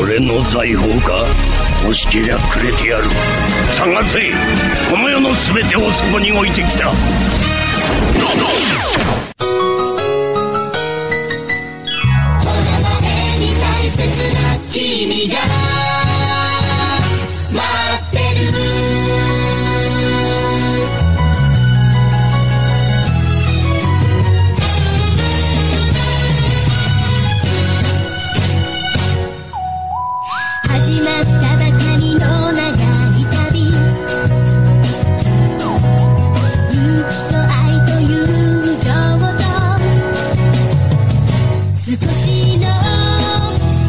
俺の財宝か欲しけりゃくれてやる探せこの世の全てをそこに置いてきた大切な君が待ってる始まったばかりの長い旅勇気と愛と友情と少しの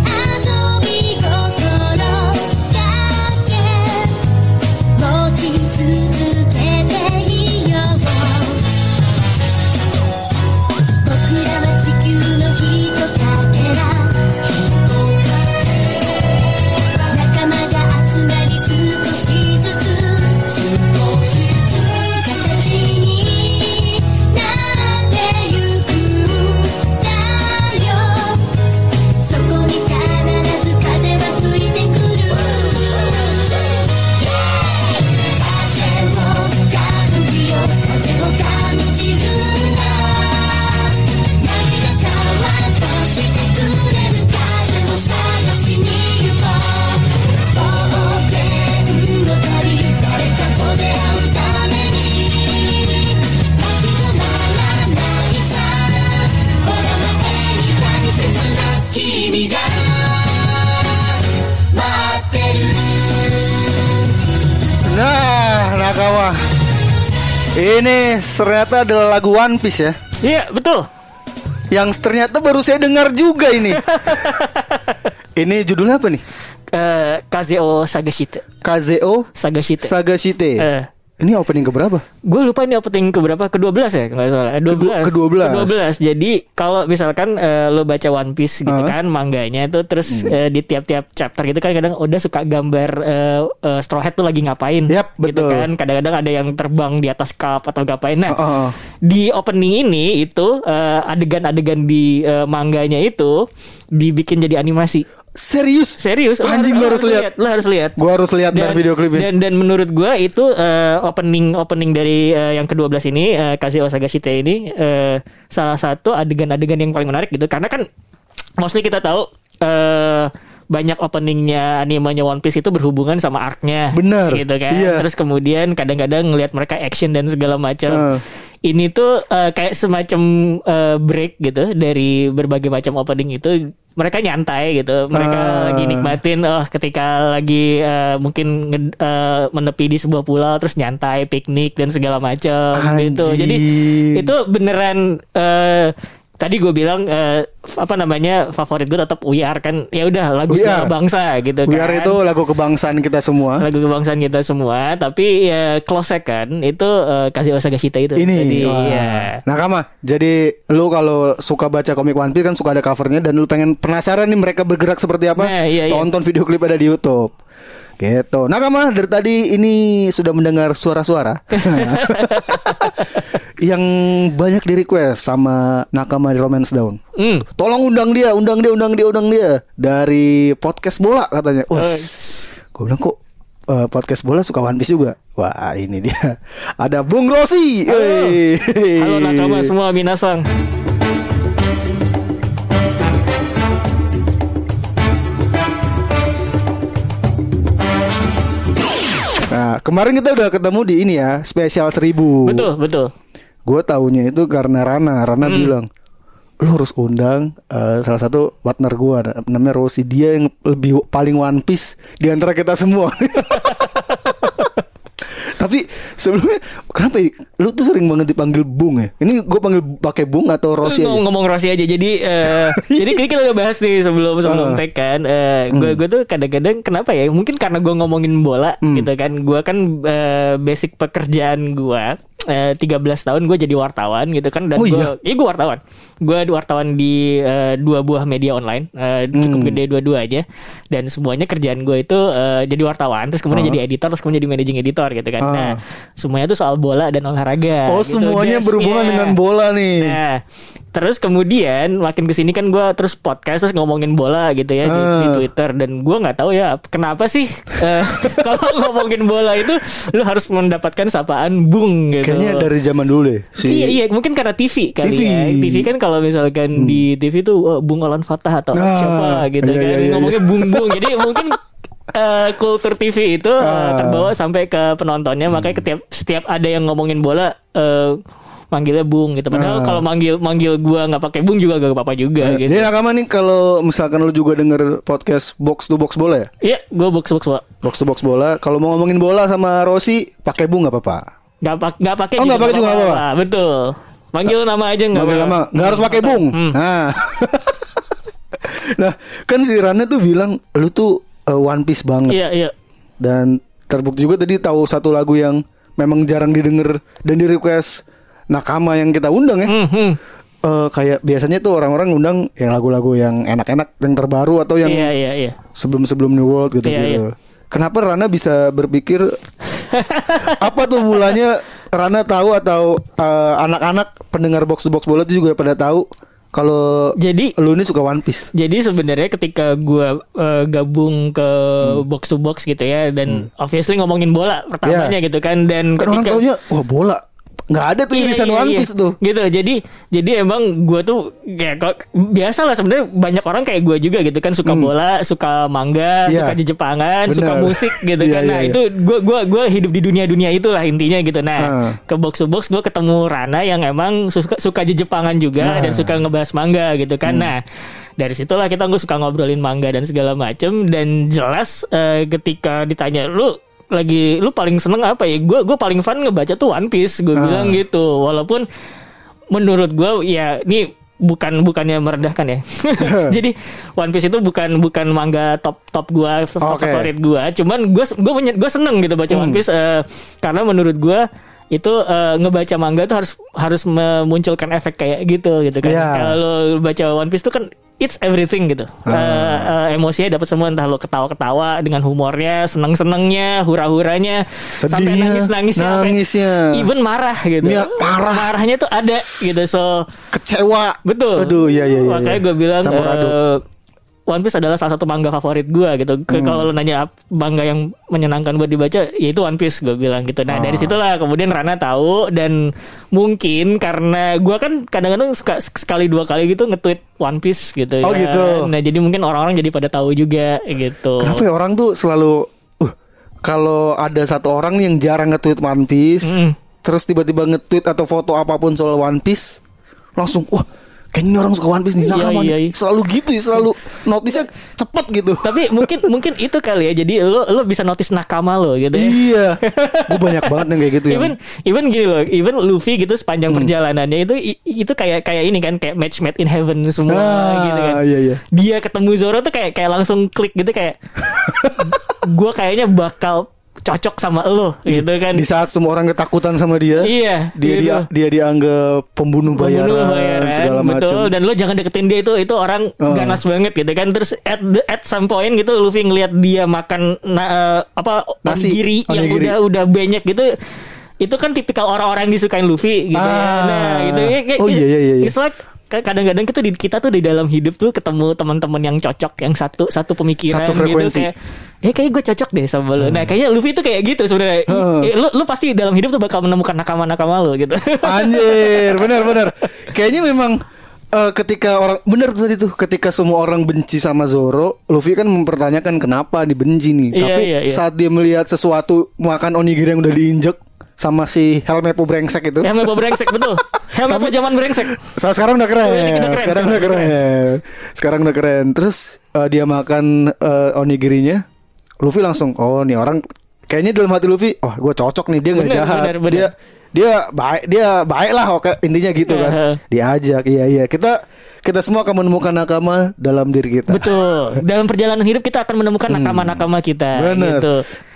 遊び心だけ持ち続けていよう僕らは地球のひとかけら仲間が集まり少しずつ形になってゆくんだよそこに必ず風は吹いてくる風を感じよ風を感じるんだ涙乾かしてくれる風を探しに行こう冒険の旅誰かと出会うために立ち止まらないさこの前に大切な君が待ってる Nah, Nakawa. Ini ternyata adalah lagu One Piece ya. Iya betul. Yang ternyata baru saya dengar juga ini. ini judulnya apa nih? Eh, Kazeo Sagashite. KZO Sagashite. Sagashite. Eh, Ini opening keberapa? gue lupa ini opening keberapa ke-12 ya kalau nggak salah Eh, 12 ke-12. Ke-12. jadi kalau misalkan eh, lo baca One Piece gitu Heeh. kan mangganya itu terus Hmm. eh, di tiap-tiap chapter gitu kan kadang Oda suka gambar eh, eh, Straw Hat tuh lagi ngapain Yap, betul. Oh, gitu kan kadang-kadang ada yang terbang di atas cup atau ngapain nah Heeh. di opening ini itu eh, adegan-adegan di eh, mangganya itu dibikin jadi animasi Serius? serius lo Anjing, gua harus lihat. lo harus lihat Gua harus lihat dah video klipnya. dan dan menurut gua itu eh, opening opening dari eh, yang ke-12 ini eh, Kaze Osagashite ini eh, salah satu adegan-adegan yang paling menarik gitu karena kan mostly kita tahu eh banyak openingnya animenya One Piece itu berhubungan sama arc-nya Bener. gitu kan Iya. terus kemudian kadang-kadang ngelihat mereka action dan segala macam Heeh. ini tuh eh, kayak semacam eh, break gitu dari berbagai macam opening itu mereka nyantai gitu mereka Ah. lagi nikmatin oh ketika lagi eh, mungkin nge- eh, menepi di sebuah pulau terus nyantai piknik dan segala macam gitu jadi Anjing. itu beneran eh, tadi gue bilang eh, apa namanya favorit gue tetap We Are kan ya udah lagu We segala Are. bangsa gitu We kan Are itu lagu kebangsaan kita semua. lagu kebangsaan kita semua tapi ya close kan itu eh, Kazuo Sagashita itu Ini. Jadi, Wah. ya. Nakama. Jadi lu kalau suka baca komik One Piece kan suka ada covernya dan lu pengen penasaran nih mereka bergerak seperti apa? Nah, iya, iya. Tonton video klip ada di YouTube. Gitu. Nakama dari tadi ini sudah mendengar suara-suara yang banyak di request sama Nakama di Romance Down. Hmm. Tolong undang dia, undang dia, undang dia, undang dia dari podcast bola katanya. Eh. Us. Gue bilang kok eh, podcast bola suka One Piece juga. Wah, ini dia. Ada Bung Rosi. Hei. halo nakama semua minasang Nah, kemarin kita udah ketemu di ini ya, spesial 1000. betul betul Gue taunya itu karena Rana. Rana Hmm. bilang, lu harus undang eh, salah satu partner gua namanya Rosi dia yang lebih paling one piece di antara kita semua tapi sebelumnya kenapa ya? lu tuh sering banget dipanggil bung ya ini gue panggil pakai bung atau Rosi Ngom- aja? ngomong Rossi aja jadi eh, jadi ini kita udah bahas nih sebelum sebelum Ah. tag kan Eh, gue gue tuh kadang-kadang kenapa ya mungkin karena gue ngomongin bola Hmm. gitu kan gue kan eh, basic pekerjaan gue eh, 13 tahun gue jadi wartawan gitu kan dan Oh, gue iya? gue wartawan gue wartawan di eh, dua buah media online Eh, cukup Hmm. gede dua-dua aja dan semuanya kerjaan gue itu eh, jadi wartawan terus kemudian jadi editor terus kemudian jadi managing editor gitu kan Ah. nah semuanya tuh soal bola dan olahraga oh gitu. semuanya Yes, berhubungan iya. dengan bola nih Nah, Terus kemudian makin kesini kan gue terus podcast terus ngomongin bola gitu ya di, di Ah. Twitter dan gue nggak tahu ya kenapa sih eh, kalau ngomongin bola itu lu harus mendapatkan sapaan bung gitu. Kayaknya dari zaman dulu deh si Iya iya mungkin karena TV kali TV. ya. TV kan kalau misalkan di TV tuh oh, Bung Olan Fatah atau Hmm. Ah, siapa gitu iya, kan iya, iya, ngomongnya iya. Bung Bung. Jadi mungkin eh, kultur TV itu eh, Ah. Hmm. terbawa sampai ke penontonnya makanya setiap setiap ada yang ngomongin bola eh, manggilnya Bung gitu. Padahal Ah. Iya. kalau manggil manggil gua nggak pakai Bung juga gak apa-apa juga gitu. Jadi nakama nih kalau misalkan lu juga denger podcast box to box bola ya? Iya, gua box box box. Box to box bola, kalau mau ngomongin bola sama Rossi pakai bung nggak apa-apa. Gak, pak- gak pakai Oh, nggak pakai juga nggak apa-apa. Betul. Manggil nama aja nggak Nggak pakai nama, nggak harus pakai bung. Nah. nah, kan si Rana tuh bilang lu tuh uh, one piece banget Iya, iya. dan terbukti juga tadi tahu satu lagu yang memang jarang didengar dan di request nakama yang kita undang ya. Hmm, hmm. Eh, kayak biasanya tuh orang-orang undang yang lagu-lagu yang enak-enak, yang terbaru atau yang Iya, iya, iya. sebelum-sebelum New World gitu Iya, gitu. Kenapa Rana bisa berpikir apa tuh mulanya Rana tahu atau eh, anak-anak pendengar box to box bola tuh juga pada tahu kalau Jadi lu ini suka One Piece. Jadi sebenarnya ketika gua eh, gabung ke Hmm. box to box gitu ya dan obviously ngomongin bola pertamanya gitu kan dan Kan orang ketika taunya wah bola. nggak ada tuh Iya, irisan iya, One iya. Piece tuh. gitu jadi jadi emang gua tuh ya kok biasa lah sebenarnya banyak orang kayak gua juga gitu kan suka bola suka Hmm. manga Iya. suka jejepangan Bener. suka musik gitu Iya, kan iya, nah iya. itu gua gua gua hidup di dunia dunia itulah intinya gitu nah Nah. ke box to box gua ketemu Rana yang emang suka suka jejepangan juga Nah. Hmm. dan suka ngebahas manga gitu kan nah dari situlah kita gue suka ngobrolin manga dan segala macem dan jelas eh, ketika ditanya lu lagi lu paling seneng apa ya gue gue paling fun ngebaca tuh One Piece Ah. gue bilang gitu walaupun menurut gue ya ini bukan bukannya merendahkan ya jadi One Piece itu bukan bukan manga top top gue top Oke. favorit gue cuman gue gue gue seneng gitu baca Hmm. One Piece eh, karena menurut gue itu eh, ngebaca manga tuh harus harus memunculkan efek kayak gitu gitu kan Iya. kalau baca One Piece tuh kan it's everything gitu Ah. Eh eh, emosinya dapat semua entah lo ketawa-ketawa dengan humornya seneng-senengnya hura-huranya sampai Sedihnya, nangis-nangisnya sampai ya, nangisnya. even marah gitu Iya, marah. marahnya tuh ada gitu so Kecewa. Betul. Aduh, iya iya iya. Makanya iya. gue bilang Campur aduk. eh, One Piece adalah salah satu manga favorit gue gitu. Ke- Hmm. Kalau lo nanya ap- manga yang menyenangkan buat dibaca, yaitu One Piece gue bilang gitu. Nah Ah. dari situlah kemudian Rana tahu dan mungkin karena gue kan kadang-kadang suka sek- sekali dua kali gitu nge-tweet One Piece gitu. Oh, ya. gitu. Nah jadi mungkin orang-orang jadi pada tahu juga gitu. Kenapa ya orang tuh selalu uh, kalau ada satu orang yang jarang nge-tweet One Piece, terus tiba-tiba nge-tweet atau foto apapun soal One Piece, langsung wah kayaknya ini orang suka One Piece nih. Nah, Iya, kapan?" iya, iya. selalu gitu ya, selalu notisnya cepet gitu. Tapi mungkin mungkin itu kali ya. Jadi lo lo bisa notice nakama lo gitu. ya. iya. Gue banyak banget yang kayak gitu ya. Hmm. even even gini loh even Luffy gitu sepanjang perjalanannya itu i- itu kayak kayak ini kan kayak match made in heaven semua Ah, gitu kan iya, iya. dia ketemu Zoro tuh kayak kayak langsung klik gitu kayak gue kayaknya bakal cocok sama lo gitu kan Di saat semua orang ketakutan sama dia, Iya, dia dia gitu. dia dianggap pembunuh bayaran, Pembunuh bayaran, segala betul macam. dan lo jangan deketin dia itu itu orang Oh. ganas banget gitu kan terus at the, at some point gitu Luffy ngelihat dia makan na- eh, apa Nasi, onigiri yang onigiri. udah udah banyak gitu itu kan tipikal orang-orang yang disukain Luffy gitu ya. Ah. nah gitu ya kayak- Oh, iya, iya, iya, iya. it's like ka- kadang-kadang kita di kita tuh di dalam hidup tuh ketemu teman-teman yang cocok yang satu satu pemikiran Satu gitu frekuensi. kayak eh kayak gue cocok deh sama lo nah kayaknya Luffy tuh kayak gitu sebenarnya Hmm. Eh, lu lu pasti dalam hidup tuh bakal menemukan nakama-nakama lo gitu Ah, Anjir, benar-benar. Kayaknya memang eh, ketika orang benar tuh tadi tuh, ketika semua orang benci sama Zoro, Luffy kan mempertanyakan kenapa dibenci nih. Iya, Tapi iya, iya. saat dia melihat sesuatu makan onigiri yang udah diinjek sama si Helmepo brengsek itu. Helm apa brengsek betul. Helm apa zaman brengsek. Sa- sekarang udah keren. Udah keren, Sekarang udah keren. Sekarang udah keren. Terus eh, dia makan eh, onigirinya. Luffy langsung, "Oh, nih orang kayaknya dalam hati Luffy, oh, gue cocok nih, dia nggak Bener, jahat. bener, bener. Dia dia baik, dia baik lah oke intinya gitu kan. Heeh. Diajak. Iya, iya. Kita kita semua akan menemukan nakama dalam diri kita. Betul. Dalam perjalanan hidup kita akan menemukan nakama-nakama kita Hmm. Bener. gitu.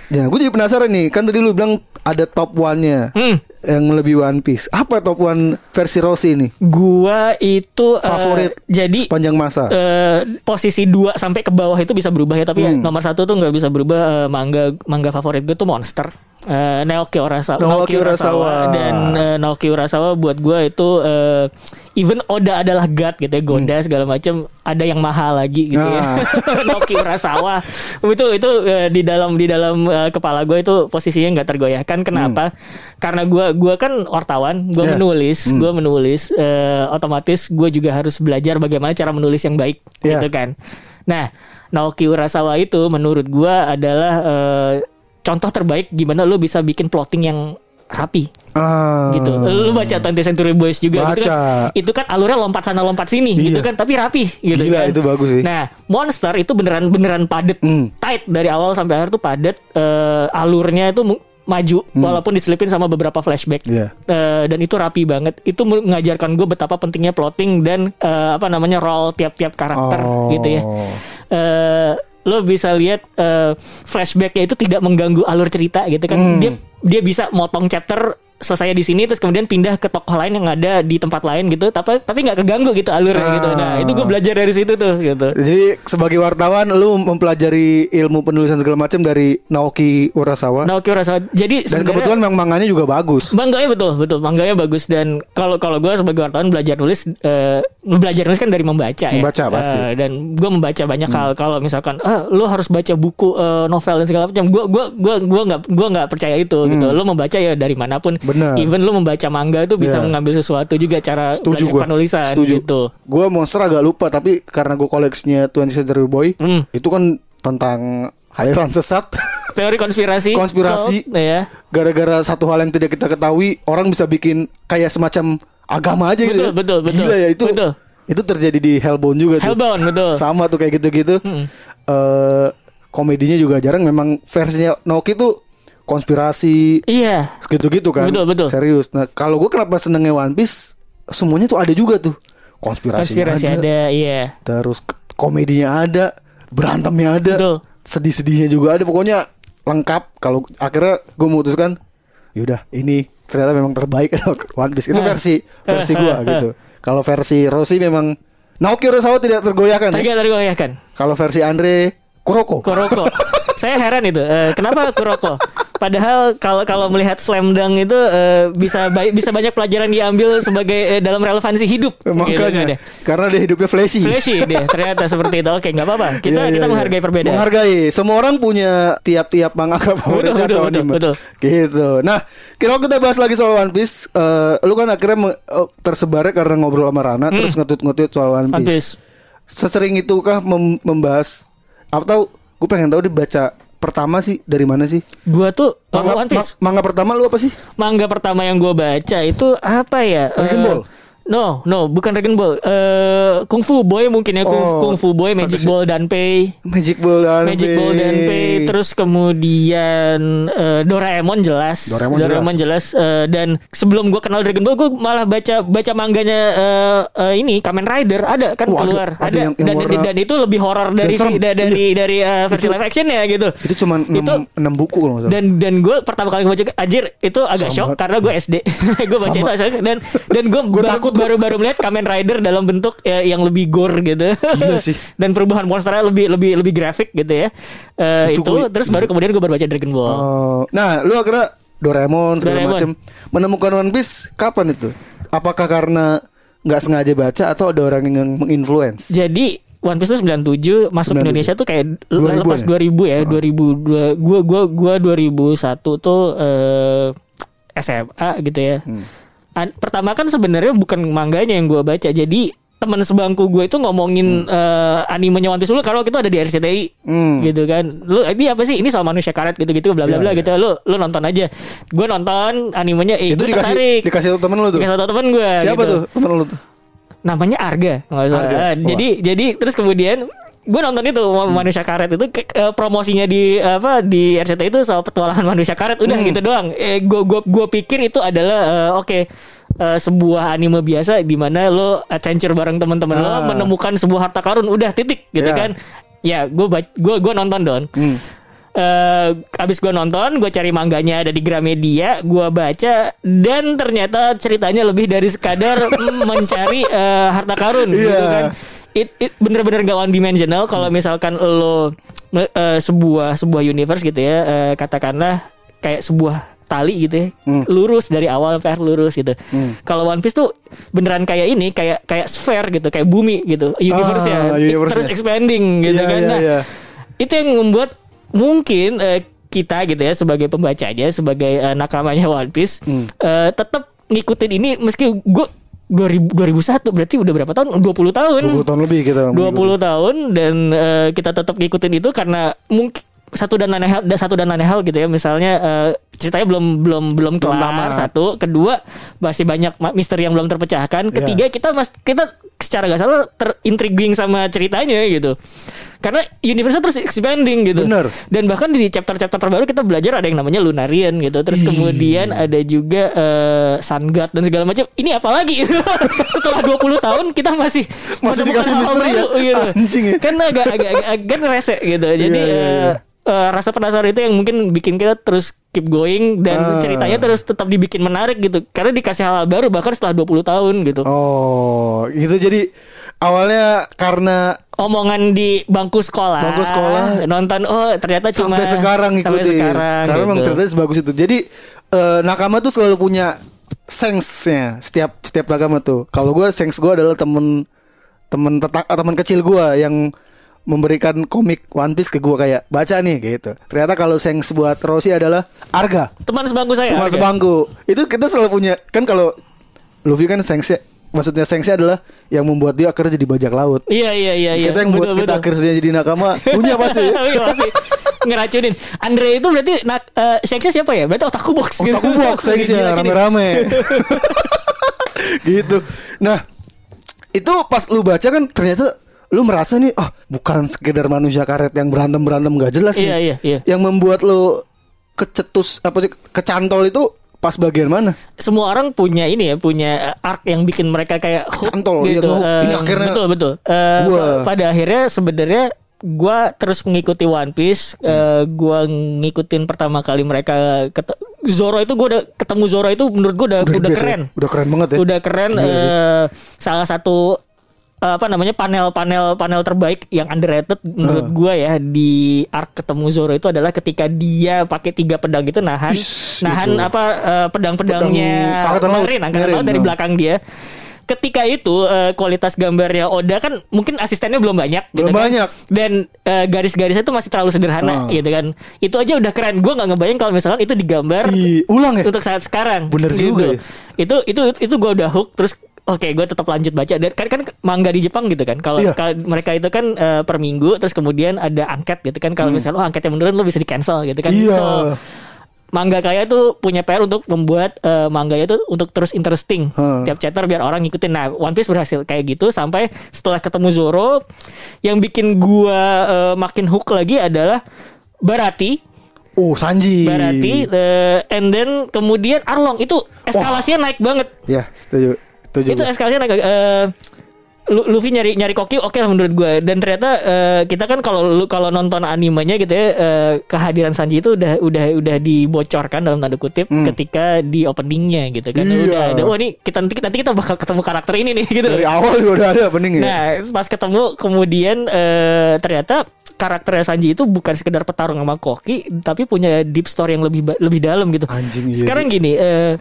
Ya, gue jadi penasaran nih. Kan tadi lu bilang ada top one-nya. Hmm. yang lebih One Piece. Apa top one versi Rossi ini? Gua itu eh, Favorit jadi sepanjang masa. eh, posisi 2 sampai ke bawah itu bisa berubah ya, tapi Hmm. ya nomor satu tuh nggak bisa berubah. Eh, manga manga favorit gue tuh Monster. Eh, Naoki Urasawa, Naoki Urasawa. dan eh, Naoki Urasawa buat gue itu eh, even Oda adalah god gitu ya, Goda Hmm. segala macam ada yang mahal lagi gitu Nah. ya. Naoki Urasawa itu itu eh, di dalam di dalam eh, kepala gue itu posisinya nggak tergoyahkan kenapa? Hmm. Karena gue gua kan wartawan, gue Yeah. menulis, gue menulis eh, otomatis gue juga harus belajar bagaimana cara menulis yang baik Yeah. gitu kan. Nah, Naoki Urasawa itu menurut gue adalah eh, contoh terbaik gimana lo bisa bikin plotting yang rapi Ah. gitu. Lu baca 20th Century Boys juga Baca. gitu kan. Itu kan alurnya lompat sana lompat sini Iya. gitu kan tapi rapi gitu Gila, kan. itu bagus sih. Nah, Monster itu beneran beneran padet. Hmm. Tight dari awal sampai akhir tuh padet eh, alurnya itu mu- maju walaupun diselipin sama beberapa flashback Hmm. Iya. Eh, dan itu rapi banget itu mengajarkan gue betapa pentingnya plotting dan eh, apa namanya role tiap-tiap karakter Oh. gitu ya eh lo bisa lihat eh, flashbacknya itu tidak mengganggu alur cerita gitu kan Hmm. dia dia bisa motong chapter selesai di sini terus kemudian pindah ke tokoh lain yang ada di tempat lain gitu tapi tapi nggak keganggu gitu alurnya gitu nah Ah. Iya. itu gue belajar dari situ tuh gitu Jadi sebagai wartawan lu mempelajari ilmu penulisan segala macam dari Naoki Urasawa. nah oke Urasawa. Dan jadi sebenarnya- kebetulan memang manganya juga bagus. Mangganya betul, betul. Mangganya bagus dan kalau kalau gue sebagai wartawan belajar nulis, eh, belajar nulis kan dari membaca ya. Membaca, pasti. Hmm. Eh, dan gue membaca banyak hal. Kalau misalkan, ah, lo harus baca buku eh, novel dan segala macam. Gue gua gua gua nggak gua nggak percaya itu Hmm. gitu. Lo membaca ya dari manapun. Benar. Even lo membaca manga itu bisa Iya. mengambil sesuatu juga cara Setuju belajar gua. penulisan Setuju. gitu. Gua monster agak lupa tapi karena gua koleksinya 20th Century Boy, Hmm. itu kan tentang aliran sesat. Teori konspirasi. Konspirasi. cult, ya. Gara-gara satu hal yang tidak kita ketahui, orang bisa bikin kayak semacam agama aja gitu. ya. Betul, betul, betul. Gila ya itu. Betul. Itu terjadi di Hellbound juga tuh. Hellbound, betul. Sama tuh kayak gitu-gitu. Eh komedinya juga jarang memang versinya Noki tuh konspirasi Iya. gitu-gitu kan. Betul, betul. Serius. Nah, kalau gue kenapa senengnya One Piece, semuanya tuh ada juga tuh. Konspirasi, Konspirasi ada. iya. terus k- komedinya ada, berantemnya ada, Betul. sedih-sedihnya juga ada. Pokoknya lengkap. Kalau akhirnya gue memutuskan, yaudah ini ternyata memang terbaik One Piece. Itu Nah. versi versi gue Eh, eh, gitu. Kalau versi Rossi memang Naoki Urasawa tidak tergoyahkan. ya? Tadi tadi gue kan. Kalau versi Andre Kuroko. Kuroko. Saya heran itu. eh, kenapa Kuroko? Padahal kalau kalau melihat slam dunk itu eh, bisa ba- bisa banyak pelajaran diambil sebagai eh, dalam relevansi hidup. Eh, Makanya Gitu, deh. karena dia hidupnya flashy. Flashy deh ternyata seperti itu. Oke, nggak apa-apa. Kita Iya, kita iya, iya. menghargai perbedaan. Menghargai. Semua orang punya tiap-tiap manga favorit Betul, atau betul, anime. betul, betul. Gitu. Nah, kira kita bahas lagi soal One Piece. Eh, lu kan akhirnya meng- eh, tersebarnya karena ngobrol sama Rana terus ngetut-ngetut soal One Piece. Hmm. One Piece. Sesering itukah mem- membahas atau gue pengen tahu dibaca pertama sih dari mana sih? Gua tuh oh, Manga, One Piece. ma- manga pertama lu apa sih? manga pertama yang gue baca itu apa ya? Dragon Eh, Ball? No, no, bukan Dragon Ball. Eh Kung Fu Boy mungkin ya Kung, Oh, Kung Fu Boy, Magic tapi- Ball dan Pay. Magic Ball dan Magic Ball dan Pay terus kemudian eh, Doraemon jelas Doraemon jelas, eh, dan sebelum gua kenal Dragon Ball gua malah baca baca mangganya eh, eh, ini Kamen Rider ada kan Oh, ada. keluar Ada yang- yang dan, warna- dan itu lebih horor dari serem. Iya. da- dari dari eh, versi Itu- live action ya gitu itu cuman 6, Itu- buku kalau nggak salah. dan dan gue pertama kali baca Ajir itu agak Sama. shock karena gue SD gue baca Sama. itu agak shock. dan dan gue Gua takut, gua. baru baru melihat Kamen Rider dalam bentuk ya, yang lebih gore gitu Gila sih. dan perubahan monsternya lebih lebih lebih grafik gitu ya Eh, Itu itu, gua- terus baru kemudian gue baru baca Dragon Ball Oh. Nah, lu akhirnya Doraemon segala Doraemon. macam menemukan One Piece kapan itu? Apakah karena nggak sengaja baca atau ada orang yang menginfluence? jadi One Piece tuh 97 masuk 97. Indonesia tuh kayak 2000-an lepas ya? 2000 ya 2002 gua gua gua 2001 tuh eh, SMA gitu ya Hmm. An- pertama kan sebenarnya bukan mangganya yang gua baca jadi teman sebangku gue itu ngomongin eh, animenya One Piece dulu karena waktu itu ada di RCTI Hmm. gitu kan lu ini apa sih ini soal manusia karet gitu gitu bla bla Iya, bla iya. gitu lu lu nonton aja gue nonton animenya eh, itu gua dikasih tertarik. dikasih tau temen lu tuh. dikasih tau temen gitu. gue Siapa tuh temen lu tuh? namanya Arga nggak salah. Arga. Ah, Wah. Hmm. jadi jadi terus kemudian gue nonton itu manusia karet itu ke- eh, promosinya di apa di RCTI itu soal petualangan manusia karet udah Hmm. gitu doang eh, gue gue pikir itu adalah eh, oke eh, sebuah anime biasa di mana lo adventure bareng teman-teman Ah. lo menemukan sebuah harta karun udah titik gitu Iya. kan ya gue gue gue nonton don Hmm. eh abis gue nonton, gue cari mangganya ada di Gramedia, gue baca dan ternyata ceritanya lebih dari sekadar mencari eh, harta karun gitu Iya. Hmm. kan. It, it bener-bener gak one dimensional kalau misalkan lo me- eh, sebuah sebuah universe gitu ya eh, katakanlah kayak sebuah tali gitu ya Hmm. lurus dari awal sampai akhir lurus gitu kalau One Piece tuh beneran kayak ini kayak kayak sphere gitu kayak bumi gitu universe ya Ah, universe-nya. terus expanding gitu Iya, kan iya, Nah, iya. itu yang membuat mungkin eh, kita gitu ya sebagai pembacanya sebagai eh, nakamanya One Piece eh, tetap ngikutin ini meski gue 2000 2001 berarti udah berapa tahun 20 tahun 20 tahun lebih kita 20 tahun dan eh, kita tetap ngikutin itu karena mungkin satu dan lain hal satu dan lain hal gitu ya misalnya eh, ceritanya belum belum belum kelar tamat. satu kedua masih banyak ma- misteri yang belum Iya. terpecahkan ketiga kita mas kita secara nggak salah terintriguing sama ceritanya gitu karena universe terus expanding gitu Bener. dan bahkan di chapter-chapter terbaru kita belajar ada yang namanya Lunarian gitu terus kemudian ada juga eh, Sun God dan segala macam ini apalagi setelah 20 tahun kita masih Masih menemukan dikasih hal-hal misteri ya? baru, gitu. Anjing ya. Kan agak agak agak- agak rese gitu. Jadi Iya, iya, iya. eh, eh, rasa penasaran itu yang mungkin bikin kita terus keep going Ah. dan ceritanya terus tetap dibikin menarik gitu. Karena dikasih hal, baru bahkan setelah 20 tahun gitu. Oh, itu jadi awalnya karena Omongan di bangku sekolah. Bangku sekolah. Nonton oh ternyata cuma sampai sekarang sampai ngikutin. sekarang, Karena memang gitu. ceritanya sebagus itu. Jadi eh, Nakama tuh selalu punya sense-nya setiap setiap Nakama tuh. Kalau gue sense gue adalah temen temen tetak teman kecil gue yang memberikan komik One Piece ke gue kayak baca nih gitu. Ternyata kalau sense buat Rosie adalah Arga. teman sebangku saya. Cuma Iya, Arga. sebangku. Itu kita selalu punya kan kalau Luffy kan sense maksudnya sense adalah yang membuat dia akhirnya jadi bajak laut. Iya iya iya iya. Kita yang buat kita Betul, betul. akhirnya jadi nakama punya pasti. ya. Iya, pasti. ngeracunin. Andre itu berarti nak eh, Shanksnya siapa ya? Berarti otakku box. gitu. Otakku box saya sih Gila, gini. rame-rame. gitu. Nah, itu pas lu baca kan ternyata lu merasa nih ah bukan sekedar manusia karet yang berantem-berantem gak jelas Iya, nih. iya, iya. Yang membuat lu kecetus apa sih, kecantol itu pas bagian mana? semua orang punya ini ya punya arc yang bikin mereka kayak hook Kecantol, iya, gitu. ngehook. Eh, Ini akhirnya betul betul. Eh, gua. so- pada akhirnya sebenarnya gua terus mengikuti One Piece. Hmm. Eh, gua ngikutin pertama kali mereka ket- Zoro itu gua udah ketemu Zoro itu menurut gua udah udah, the best ya. keren. Udah keren banget ya. Udah keren Gila sih. eh, salah satu eh, apa namanya panel-panel panel terbaik yang underrated menurut Hmm. gua ya di arc ketemu Zoro itu adalah ketika dia pakai tiga pedang itu nahan Ish, itu. nahan apa eh, pedang-pedangnya Pedang Angkatan Laut. Marine, Angkatan Marine, Laut dari no. belakang dia. Ketika itu eh, kualitas gambarnya Oda kan mungkin asistennya belum banyak Belum kan. banyak. dan eh, garis-garisnya itu masih terlalu Ah. sederhana gitu kan. Itu aja udah keren. Gua nggak ngebayang kalau misalkan itu digambar Ih, ulang ya? untuk saat sekarang. gitu. Bener juga ya. Itu itu itu gue udah hook terus oke gue tetap lanjut baca dan kan kan manga di Jepang gitu kan kalau Iya. kalau mereka itu kan eh, per minggu terus kemudian ada angket gitu kan kalau misalnya oh angketnya menurun lo bisa di cancel gitu kan Hmm. Iya. manga kaya tuh punya PR untuk membuat eh, manga manganya tuh untuk terus interesting Hmm. tiap chapter biar orang ngikutin nah One Piece berhasil kayak gitu sampai setelah ketemu Zoro yang bikin gua eh, makin hook lagi adalah Barati Oh, Sanji. Barati eh, and then kemudian Arlong itu eskalasinya naik banget Ya, setuju. Setuju. itu eskalasinya naik eh, Lu- Luffy nyari nyari koki oke lah menurut gue dan ternyata eh, kita kan kalau lu- kalau nonton animenya gitu ya eh, kehadiran Sanji itu udah udah udah dibocorkan dalam tanda kutip ketika di openingnya gitu kan Hmm. Iya. udah ada wah ini kita nanti nanti kita bakal ketemu karakter ini nih gitu Dari awal juga udah ada pening ya. Nah, pas ketemu kemudian eh, ternyata karakternya Sanji itu bukan sekedar petarung sama Koki, tapi punya deep story yang lebih ba- lebih dalam gitu. Anjing, iya Sekarang gini, eh,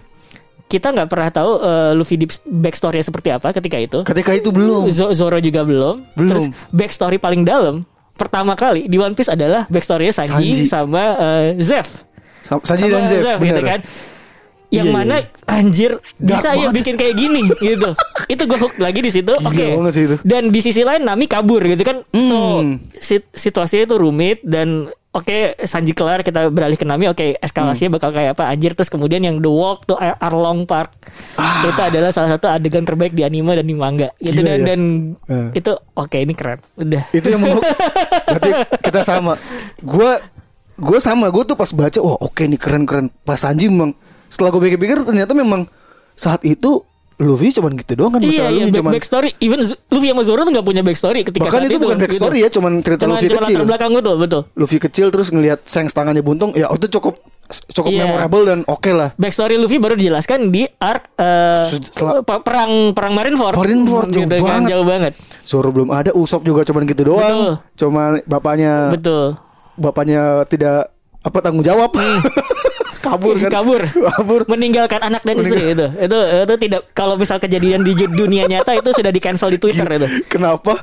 kita nggak pernah tahu eh, Luffy deep backstory-nya seperti apa ketika itu. Ketika itu belum. Zo- Zoro juga belum. Belum. Terus backstory paling dalam pertama kali di One Piece adalah backstory-nya Sanji, Sanji. sama eh, Zeph. Sa- Sanji Sama dan Zef, Zeph bener. gitu kan. Yang Iya, mana iya, anjir Dark bisa ya banget. bikin kayak gini gitu. itu gue hook lagi di situ. Gila Oke. banget sih itu. Dan di sisi lain Nami kabur gitu kan. So Hmm. sit- situasinya itu rumit dan oke Sanji kelar kita beralih ke Nami. Oke Hmm. eskalasinya bakal kayak apa anjir terus kemudian yang The Walk tuh Ar- Arlong Park itu adalah salah satu adegan terbaik di anime dan di manga. Gitu Ah. Gila dan, ya. dan Eh. itu oke ini keren. Udah. itu yang mau berarti kita sama gue gue sama gue tuh pas baca wah oke nih keren keren pas Sanji memang setelah gue pikir-pikir ternyata memang saat itu Luffy cuman gitu doang kan masa Iya, iya lalunya back, cuman backstory. Even Z- Luffy sama Zoro tuh nggak punya backstory ketika bahkan saat itu bukan backstory gitu. ya cuman cerita Cuman, Luffy cuman kecil. latar belakang betul betul. Luffy kecil terus ngelihat sengs tangannya buntung ya itu cukup cukup Iya. memorable dan oke lah. Backstory Luffy baru dijelaskan di arc eh, Setelah- pe- perang perang Marineford. Marineford, jauh kan, banget. Jauh banget. Zoro belum ada, Usopp juga cuman gitu Betul. doang. Cuman bapaknya Betul. bapaknya tidak apa tanggung jawab. kabur kan. Hmm. kabur kabur. meninggalkan anak dan istri itu itu itu tidak kalau misal kejadian di ju- dunia nyata itu sudah di cancel di twitter itu kenapa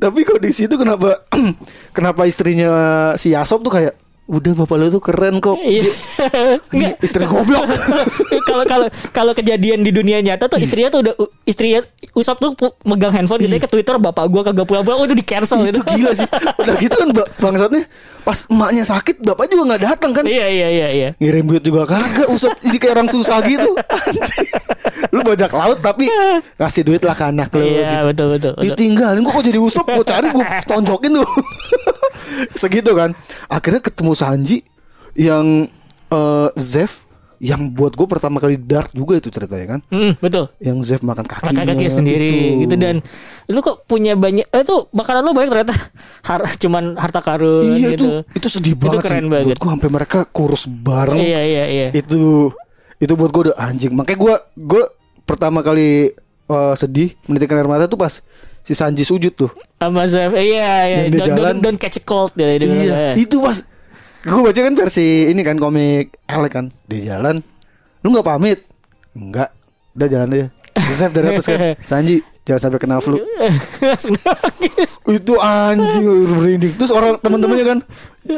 tapi kok di situ kenapa kenapa istrinya si Yasop tuh kayak udah bapak lu tuh keren kok Iya. Nggak. istri goblok kalau kalau kalau kejadian di dunia nyata tuh istrinya tuh udah istrinya Usop tuh pu- megang handphone gitu ya, ke Twitter bapak gua kagak pulang-pulang oh itu di cancel itu gila sih udah gitu kan ba- bangsatnya pas emaknya sakit bapak juga nggak datang kan Iya iya iya iya. ngirim duit juga kagak usap jadi kayak orang susah gitu Anjing. lu bajak laut tapi kasih duit lah ke anak lu Iya gitu. betul betul. betul. ditinggalin kok, kok jadi usap gue cari gue tonjokin tuh segitu kan akhirnya ketemu Sanji yang eh, Zef yang buat gue pertama kali dark juga itu ceritanya kan Mm, betul. yang Zef makan kakinya Makan kaki sendiri gitu. dan lu kok punya banyak eh tuh makanan lu banyak ternyata har, cuman harta karun iya gitu. itu itu sedih Itu banget keren sih banget. buat gue sampai mereka kurus bareng Iya iya iya. itu itu buat gue udah anjing makanya gue gue pertama kali eh, sedih menitikkan air mata tuh pas si Sanji sujud tuh Sama Zef. Iya iya. Yang dia Don't, jalan. don't, don't catch a cold dia dia bilang, Iya, eh. itu pas gue baca kan versi ini kan komik Alec kan di jalan. Lu nggak pamit? Enggak. Udah jalan aja. Save dari atas kan. Sanji jangan sampai kena flu. Langsung nangis. Itu anjing merinding. Terus orang teman-temannya kan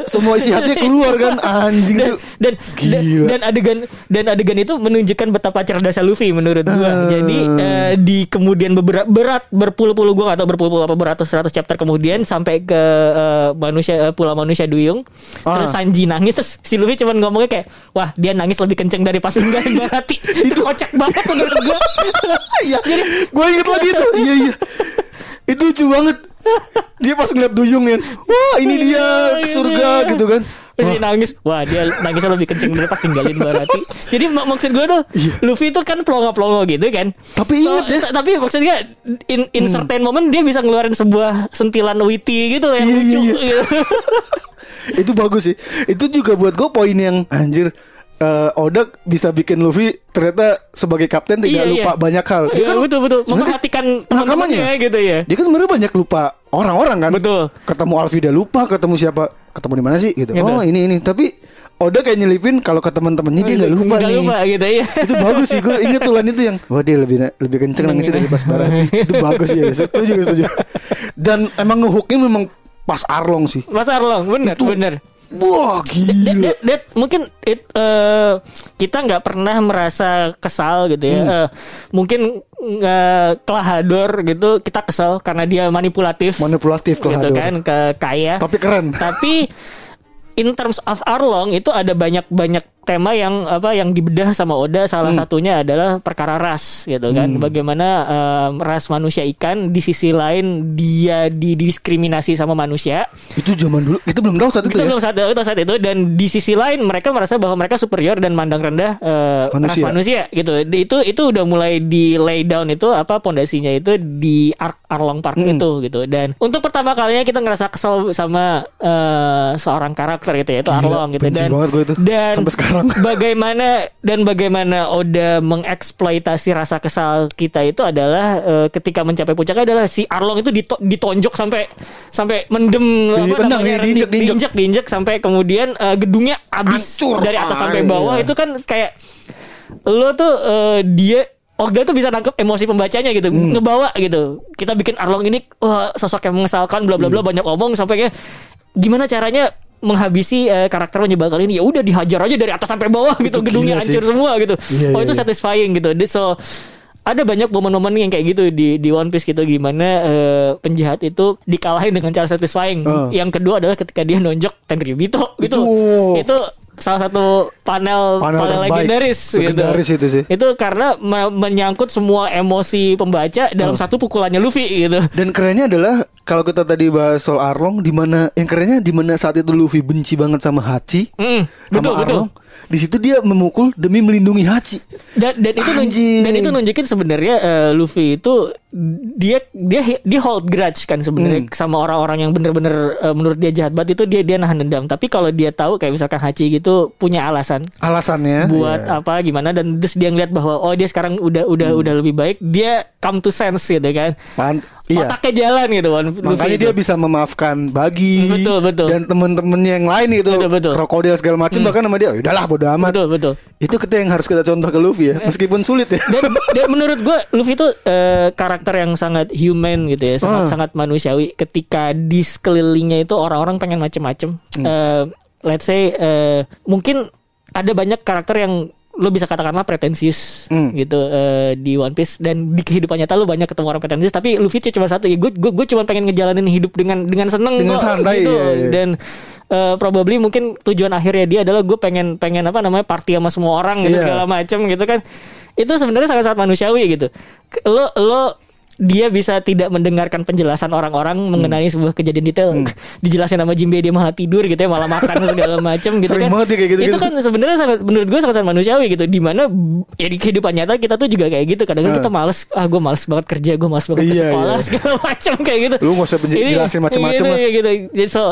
semua isi hatinya keluar kan anjing dan itu. dan, dan Gila. dan adegan dan adegan itu menunjukkan betapa cerdasnya Luffy menurut Ah. gua. Jadi eh, di kemudian beberat berat berpuluh-puluh gua atau berpuluh-puluh apa beratus-ratus chapter kemudian sampai ke eh, manusia eh, pulau manusia duyung. Ah. Terus Sanji nangis terus si Luffy cuman ngomongnya kayak wah dia nangis lebih kenceng dari pas enggak hati. itu kocak banget menurut gua. Iya. Gue inget lagi itu. Iya iya. Itu lucu banget. Dia pas ngeliat duyung kan. Wah, ini dia ke surga gitu kan. Iya, Terus Wah, dia nangis Wah dia nangisnya lebih kenceng dari pas tinggalin Barati Jadi mak- maksud gue tuh Iya. Luffy tuh kan pelongo-pelongo gitu kan Tapi inget ya. Hmm. so- Tapi maksudnya In, in certain moment Dia bisa ngeluarin sebuah Sentilan witty gitu Iya, Yang lucu iya, gitu. itu bagus sih itu juga buat gue poin yang anjir eh, Odak bisa bikin Luffy ternyata sebagai kapten tidak Iya, lupa iya. banyak hal kan Iya, betul-betul. sebenarnya Memperhatikan nakamannya. teman-temannya gitu ya. dia kan sebenarnya banyak lupa orang-orang kan Betul. ketemu Alfie dia lupa ketemu siapa ketemu di mana sih gitu, Gitu. oh ini ini tapi Odak kayak nyelipin kalau ke teman-temannya dia nggak lupa Iya, Nggak nih lupa gitu ya itu bagus sih gue inget tulan itu yang wah dia lebih lebih kenceng nangisnya dari pas barat itu bagus ya setuju setuju dan emang ngehooknya memang pas Arlong sih Mas Arlong bener Itu- bener wah That, gila that- that- mungkin it, eh, kita nggak pernah merasa kesal gitu ya. Eh, mungkin eh, kelahador gitu kita kesal karena dia manipulatif. manipulatif kalau gitu kan ke kaya. Tapi keren. Tapi in terms of Arlong itu ada banyak-banyak tema yang apa yang dibedah sama Oda salah satunya adalah perkara ras gitu kan bagaimana em, ras manusia ikan di sisi lain dia didiskriminasi sama manusia Itu zaman dulu kita belum tahu saat itu kita ya. belum saat itu saat itu dan di sisi lain mereka merasa bahwa mereka superior dan mandang rendah eh, Manusia. ras manusia gitu Di- itu itu udah mulai di lay down itu apa pondasinya itu di Ar- Arlong Park itu gitu dan untuk pertama kalinya kita ngerasa kesel sama eh, seorang karakter gitu ya itu Gila, Arlong gitu benci dan banget gua itu. dan Sampai sekarang. bagaimana dan bagaimana Oda mengeksploitasi rasa kesal kita itu adalah eh, ketika mencapai puncaknya adalah si Arlong itu dito- ditonjok sampai sampai mendem Dipendang, namanya, di- diinjek, di- diinjek. diinjek diinjek sampai kemudian eh, gedungnya habis Hancur. dari atas sampai Ah, bawah iya. itu kan kayak lo tuh eh, dia Ogda tuh bisa nangkep emosi pembacanya gitu, Hmm. ngebawa gitu. Kita bikin Arlong ini wah, sosok yang mengesalkan bla bla bla Hmm. banyak omong sampai kayak gimana caranya menghabisi eh, karakter menyebalkan ini ya udah dihajar aja dari atas sampai bawah Itu gitu gedungnya gila sih. hancur semua gitu. Iya, oh iya, itu iya. satisfying gitu. Di- So ada banyak momen-momen yang kayak gitu di di One Piece gitu gimana eh, penjahat itu dikalahin dengan cara satisfying. Eh. Yang kedua adalah ketika dia nonjok Tenryubito gitu. Itu- Itu salah satu panel Panel panel, terbaik. legendaris, Legendaris gitu. itu sih. Itu karena me- menyangkut semua emosi pembaca Hmm. dalam satu pukulannya Luffy gitu. Dan kerennya adalah kalau kita tadi bahas soal Arlong di mana yang kerennya di mana saat itu Luffy benci banget sama Hachi. Mm, betul, sama betul. Arlong. Di situ dia memukul demi melindungi Hachi. dan, dan itu nunj- Anjing. dan itu nunjukin sebenarnya eh, Luffy itu dia dia dia hold grudge kan Hmm. sebenarnya sama orang-orang yang bener-bener eh, menurut dia jahat banget itu dia dia nahan dendam tapi kalau dia tahu kayak misalkan Hachi gitu punya alasan Alasannya buat apa gimana dan terus dia ngeliat bahwa oh dia sekarang udah udah Hmm. udah lebih baik dia come to sense gitu kan pan- iya. otaknya jalan gitu kan Makanya dia bisa memaafkan bagi Betul, betul. dan temen-temennya yang lain itu Betul, betul. Hmm. krokodil segala macam bahkan sama dia "Ya udahlah bodo amat betul betul itu kita yang harus kita contoh ke Luffy ya meskipun sulit ya dan, dan menurut gue Luffy itu eh, karakter yang sangat human gitu ya Ah. sangat sangat manusiawi ketika di sekelilingnya itu orang-orang pengen macem-macem Hmm. Eh, let's say eh, mungkin ada banyak karakter yang lo bisa katakanlah pretensius Hmm. gitu eh, di One Piece dan di kehidupan nyata lo banyak ketemu orang pretensius tapi Luffy itu cuma satu ya gue gue gue cuma pengen ngejalanin hidup dengan dengan seneng Dengan kok, santai, gitu. iya, iya. dan eh, probably mungkin tujuan akhirnya dia adalah gue pengen pengen apa namanya party sama semua orang gitu Iya. segala macem gitu kan itu sebenarnya sangat-sangat manusiawi gitu Ke- lo lo dia bisa tidak mendengarkan penjelasan orang-orang Hmm. mengenai sebuah kejadian detail dijelasin sama Jimbe dia malah tidur gitu ya malah makan segala macem gitu Sering kan banget ya kayak gitu-gitu. itu kan sebenarnya sangat menurut gue sangat manusiawi gitu dimana ya di kehidupan nyata kita tuh juga kayak gitu Eh. kadang-kadang kita males ah gue males banget kerja gue males banget ke Iya, sekolah iya. segala macem kayak gitu Lu nggak usah penje- Ini- jelasin macem-macem gitu, lah. kayak gitu. Jadi so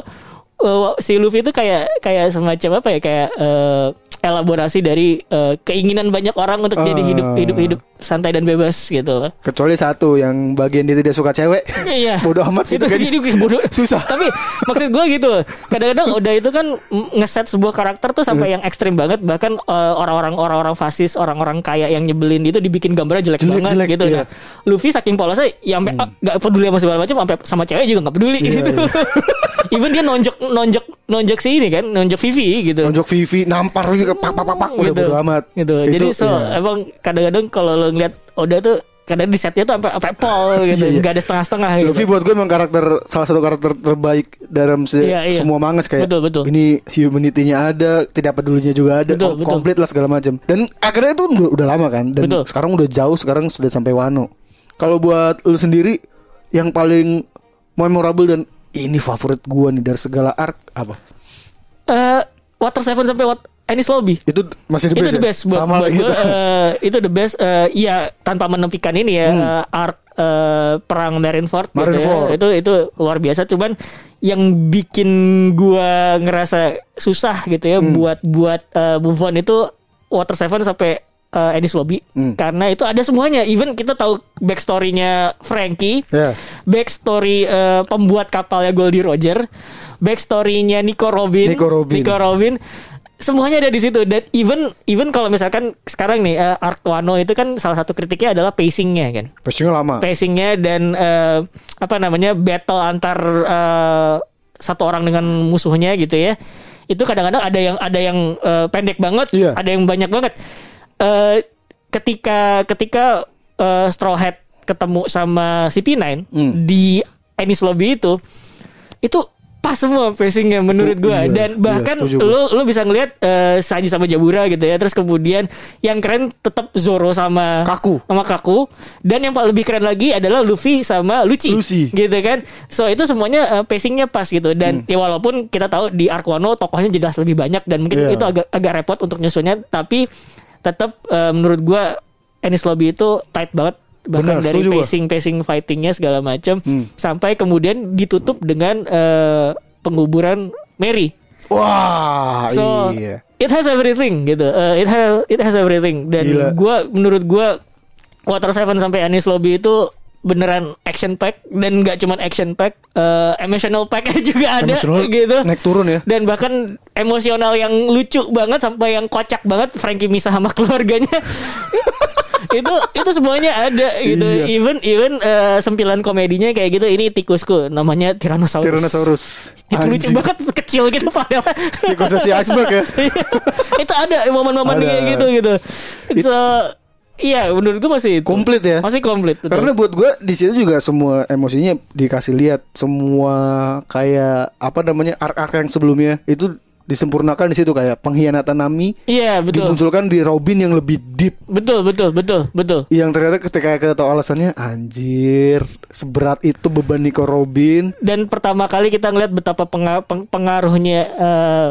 uh, si Luffy itu kayak kayak semacam apa ya kayak uh, elaborasi dari uh, keinginan banyak orang untuk jadi Ah. hidup hidup hidup santai dan bebas gitu. kecuali satu yang bagian dia tidak suka cewek Iya. bodoh amat itu gitu kan jadi bodoh. Susah. Tapi maksud gue gitu. loh. Kadang-kadang udah itu kan mm, ngeset sebuah karakter tuh Iya. sampai yang ekstrim banget. Bahkan eh, orang-orang orang-orang fasis, orang-orang kaya yang nyebelin itu dibikin gambarnya jelek, Jelek, banget jelek, gitu. iya. Hmm. Nah, Luffy saking polosnya, ya sampai ah, nggak peduli sama segala macam, sampai sama cewek juga nggak peduli Iya, gitu. iya. Even dia nonjok nonjok nonjok si ini kan, nonjok Vivi gitu Nonjok Vivi nampar Vivi ke pak pak pak pak udah bodo amat gitu jadi Itu, so iya. emang kadang-kadang kalau lo ngeliat Oda tuh kadang di setnya tuh sampai sampai pol gitu Iya, iya. nggak ada setengah-setengah gitu Luffy buat gue emang karakter salah satu karakter terbaik dalam se- Iya, iya. semua mangas kayak Betul, betul. ini humanity-nya ada, tidak pedulinya juga ada, kom- Betul, betul. komplit lah segala macam. Dan akhirnya itu udah, udah lama kan dan Betul. sekarang udah jauh, sekarang sudah sampai Wano. Kalau buat lu sendiri yang paling memorable dan ini favorit gua nih dari segala arc apa? Eh, Water Seven sampai Wat Ennis Lobby Itu masih the itu best. the ya? best buat, Sama buat lagi gue, gitu. eh, itu the best eh, Iya tanpa menepikan ini ya eh, art eh, perang Marineford, Hmm. Marineford. Gitu ya. itu itu luar biasa cuman yang bikin gua ngerasa susah gitu ya Hmm. buat buat eh, move on itu Water Seven sampai eh, Ennis Lobby Hmm. karena itu ada semuanya even kita tahu backstorynya Frankie Iya. backstory eh, pembuat kapalnya Goldie Roger backstorynya Nico Robin Nico Robin. Nico Robin semuanya ada di situ dan even even kalau misalkan sekarang nih eh, Art Wano itu kan salah satu kritiknya adalah pacingnya kan Pacingnya lama. pacingnya dan eh, apa namanya battle antar eh, satu orang dengan musuhnya gitu ya itu kadang-kadang ada yang ada yang eh, pendek banget Iya. ada yang banyak banget Eh, ketika ketika eh, Straw Hat ketemu sama CP9 Hmm. di Ennis Lobby itu itu pas semua pacingnya menurut Itu- gua iya, dan iya, bahkan setuju gua. lu lu bisa ngelihat eh, Sanji sama Jabura gitu ya. Terus kemudian yang keren tetap Zoro sama Kaku. sama Kaku dan yang paling lebih keren lagi adalah Luffy sama Lucy. Lucy. Gitu kan. So itu semuanya eh, pacingnya pas gitu Hmm. dan ya walaupun kita tahu di Arc Wano tokohnya jelas lebih banyak dan mungkin Iya. itu agak agak repot untuk nyusunnya tapi tetap eh, menurut gua Ennis Lobby itu tight banget bahkan Benar, dari setuju gua. Hmm. pacing pacing fightingnya segala macam sampai kemudian ditutup dengan eh, penguburan Mary Wah, so iya. it has everything gitu Uh, it has it has everything dan Gila. gua menurut gua Water Seven sampai Anis Lobby itu beneran action pack dan nggak cuman action pack uh, emotional pack juga ada Emotional gitu naik turun ya. dan bahkan emosional yang lucu banget sampai yang kocak banget Frankie misah sama keluarganya itu itu semuanya ada gitu Iya. even even uh, sempilan komedinya kayak gitu ini tikusku namanya Tyrannosaurus Tyrannosaurus. itu Ya, lucu Anjing. banget kecil gitu padahal Tikusnya si iceberg ya? itu ada momen-momen Ada. kayak gitu gitu so iya menurut gue masih itu. Komplit ya? masih komplit betul. Karena buat gue di situ juga semua emosinya dikasih lihat, semua kayak apa namanya arc-arc yang sebelumnya itu disempurnakan di situ kayak pengkhianatan Nami iya betul dimunculkan di Robin yang lebih deep betul betul betul betul yang ternyata ketika kita tahu alasannya anjir seberat itu beban Nico Robin dan pertama kali kita ngeliat betapa penga- peng- pengaruhnya eh,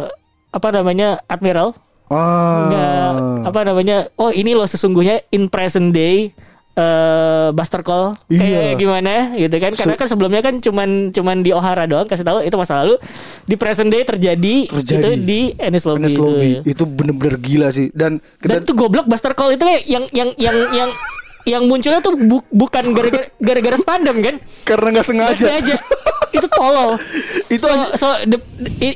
apa namanya admiral Oh. nggak apa namanya oh ini loh sesungguhnya in present day eh Buster Call Iya. kayak gimana gitu kan karena Se- kan sebelumnya kan cuman cuman di O'Hara doang kasih tahu itu masa lalu di present day terjadi, Terjadi. itu di Ennis Lobby, Ernest itu. ya? Lobby itu bener-bener gila sih dan dan- dan tuh goblok Buster Call itu kayak yang yang yang yang yang munculnya tuh bu- bukan gara-gara gara-gara spandam kan karena nggak sengaja. Nggak sengaja. itu tolol. Itu so, aja- so the-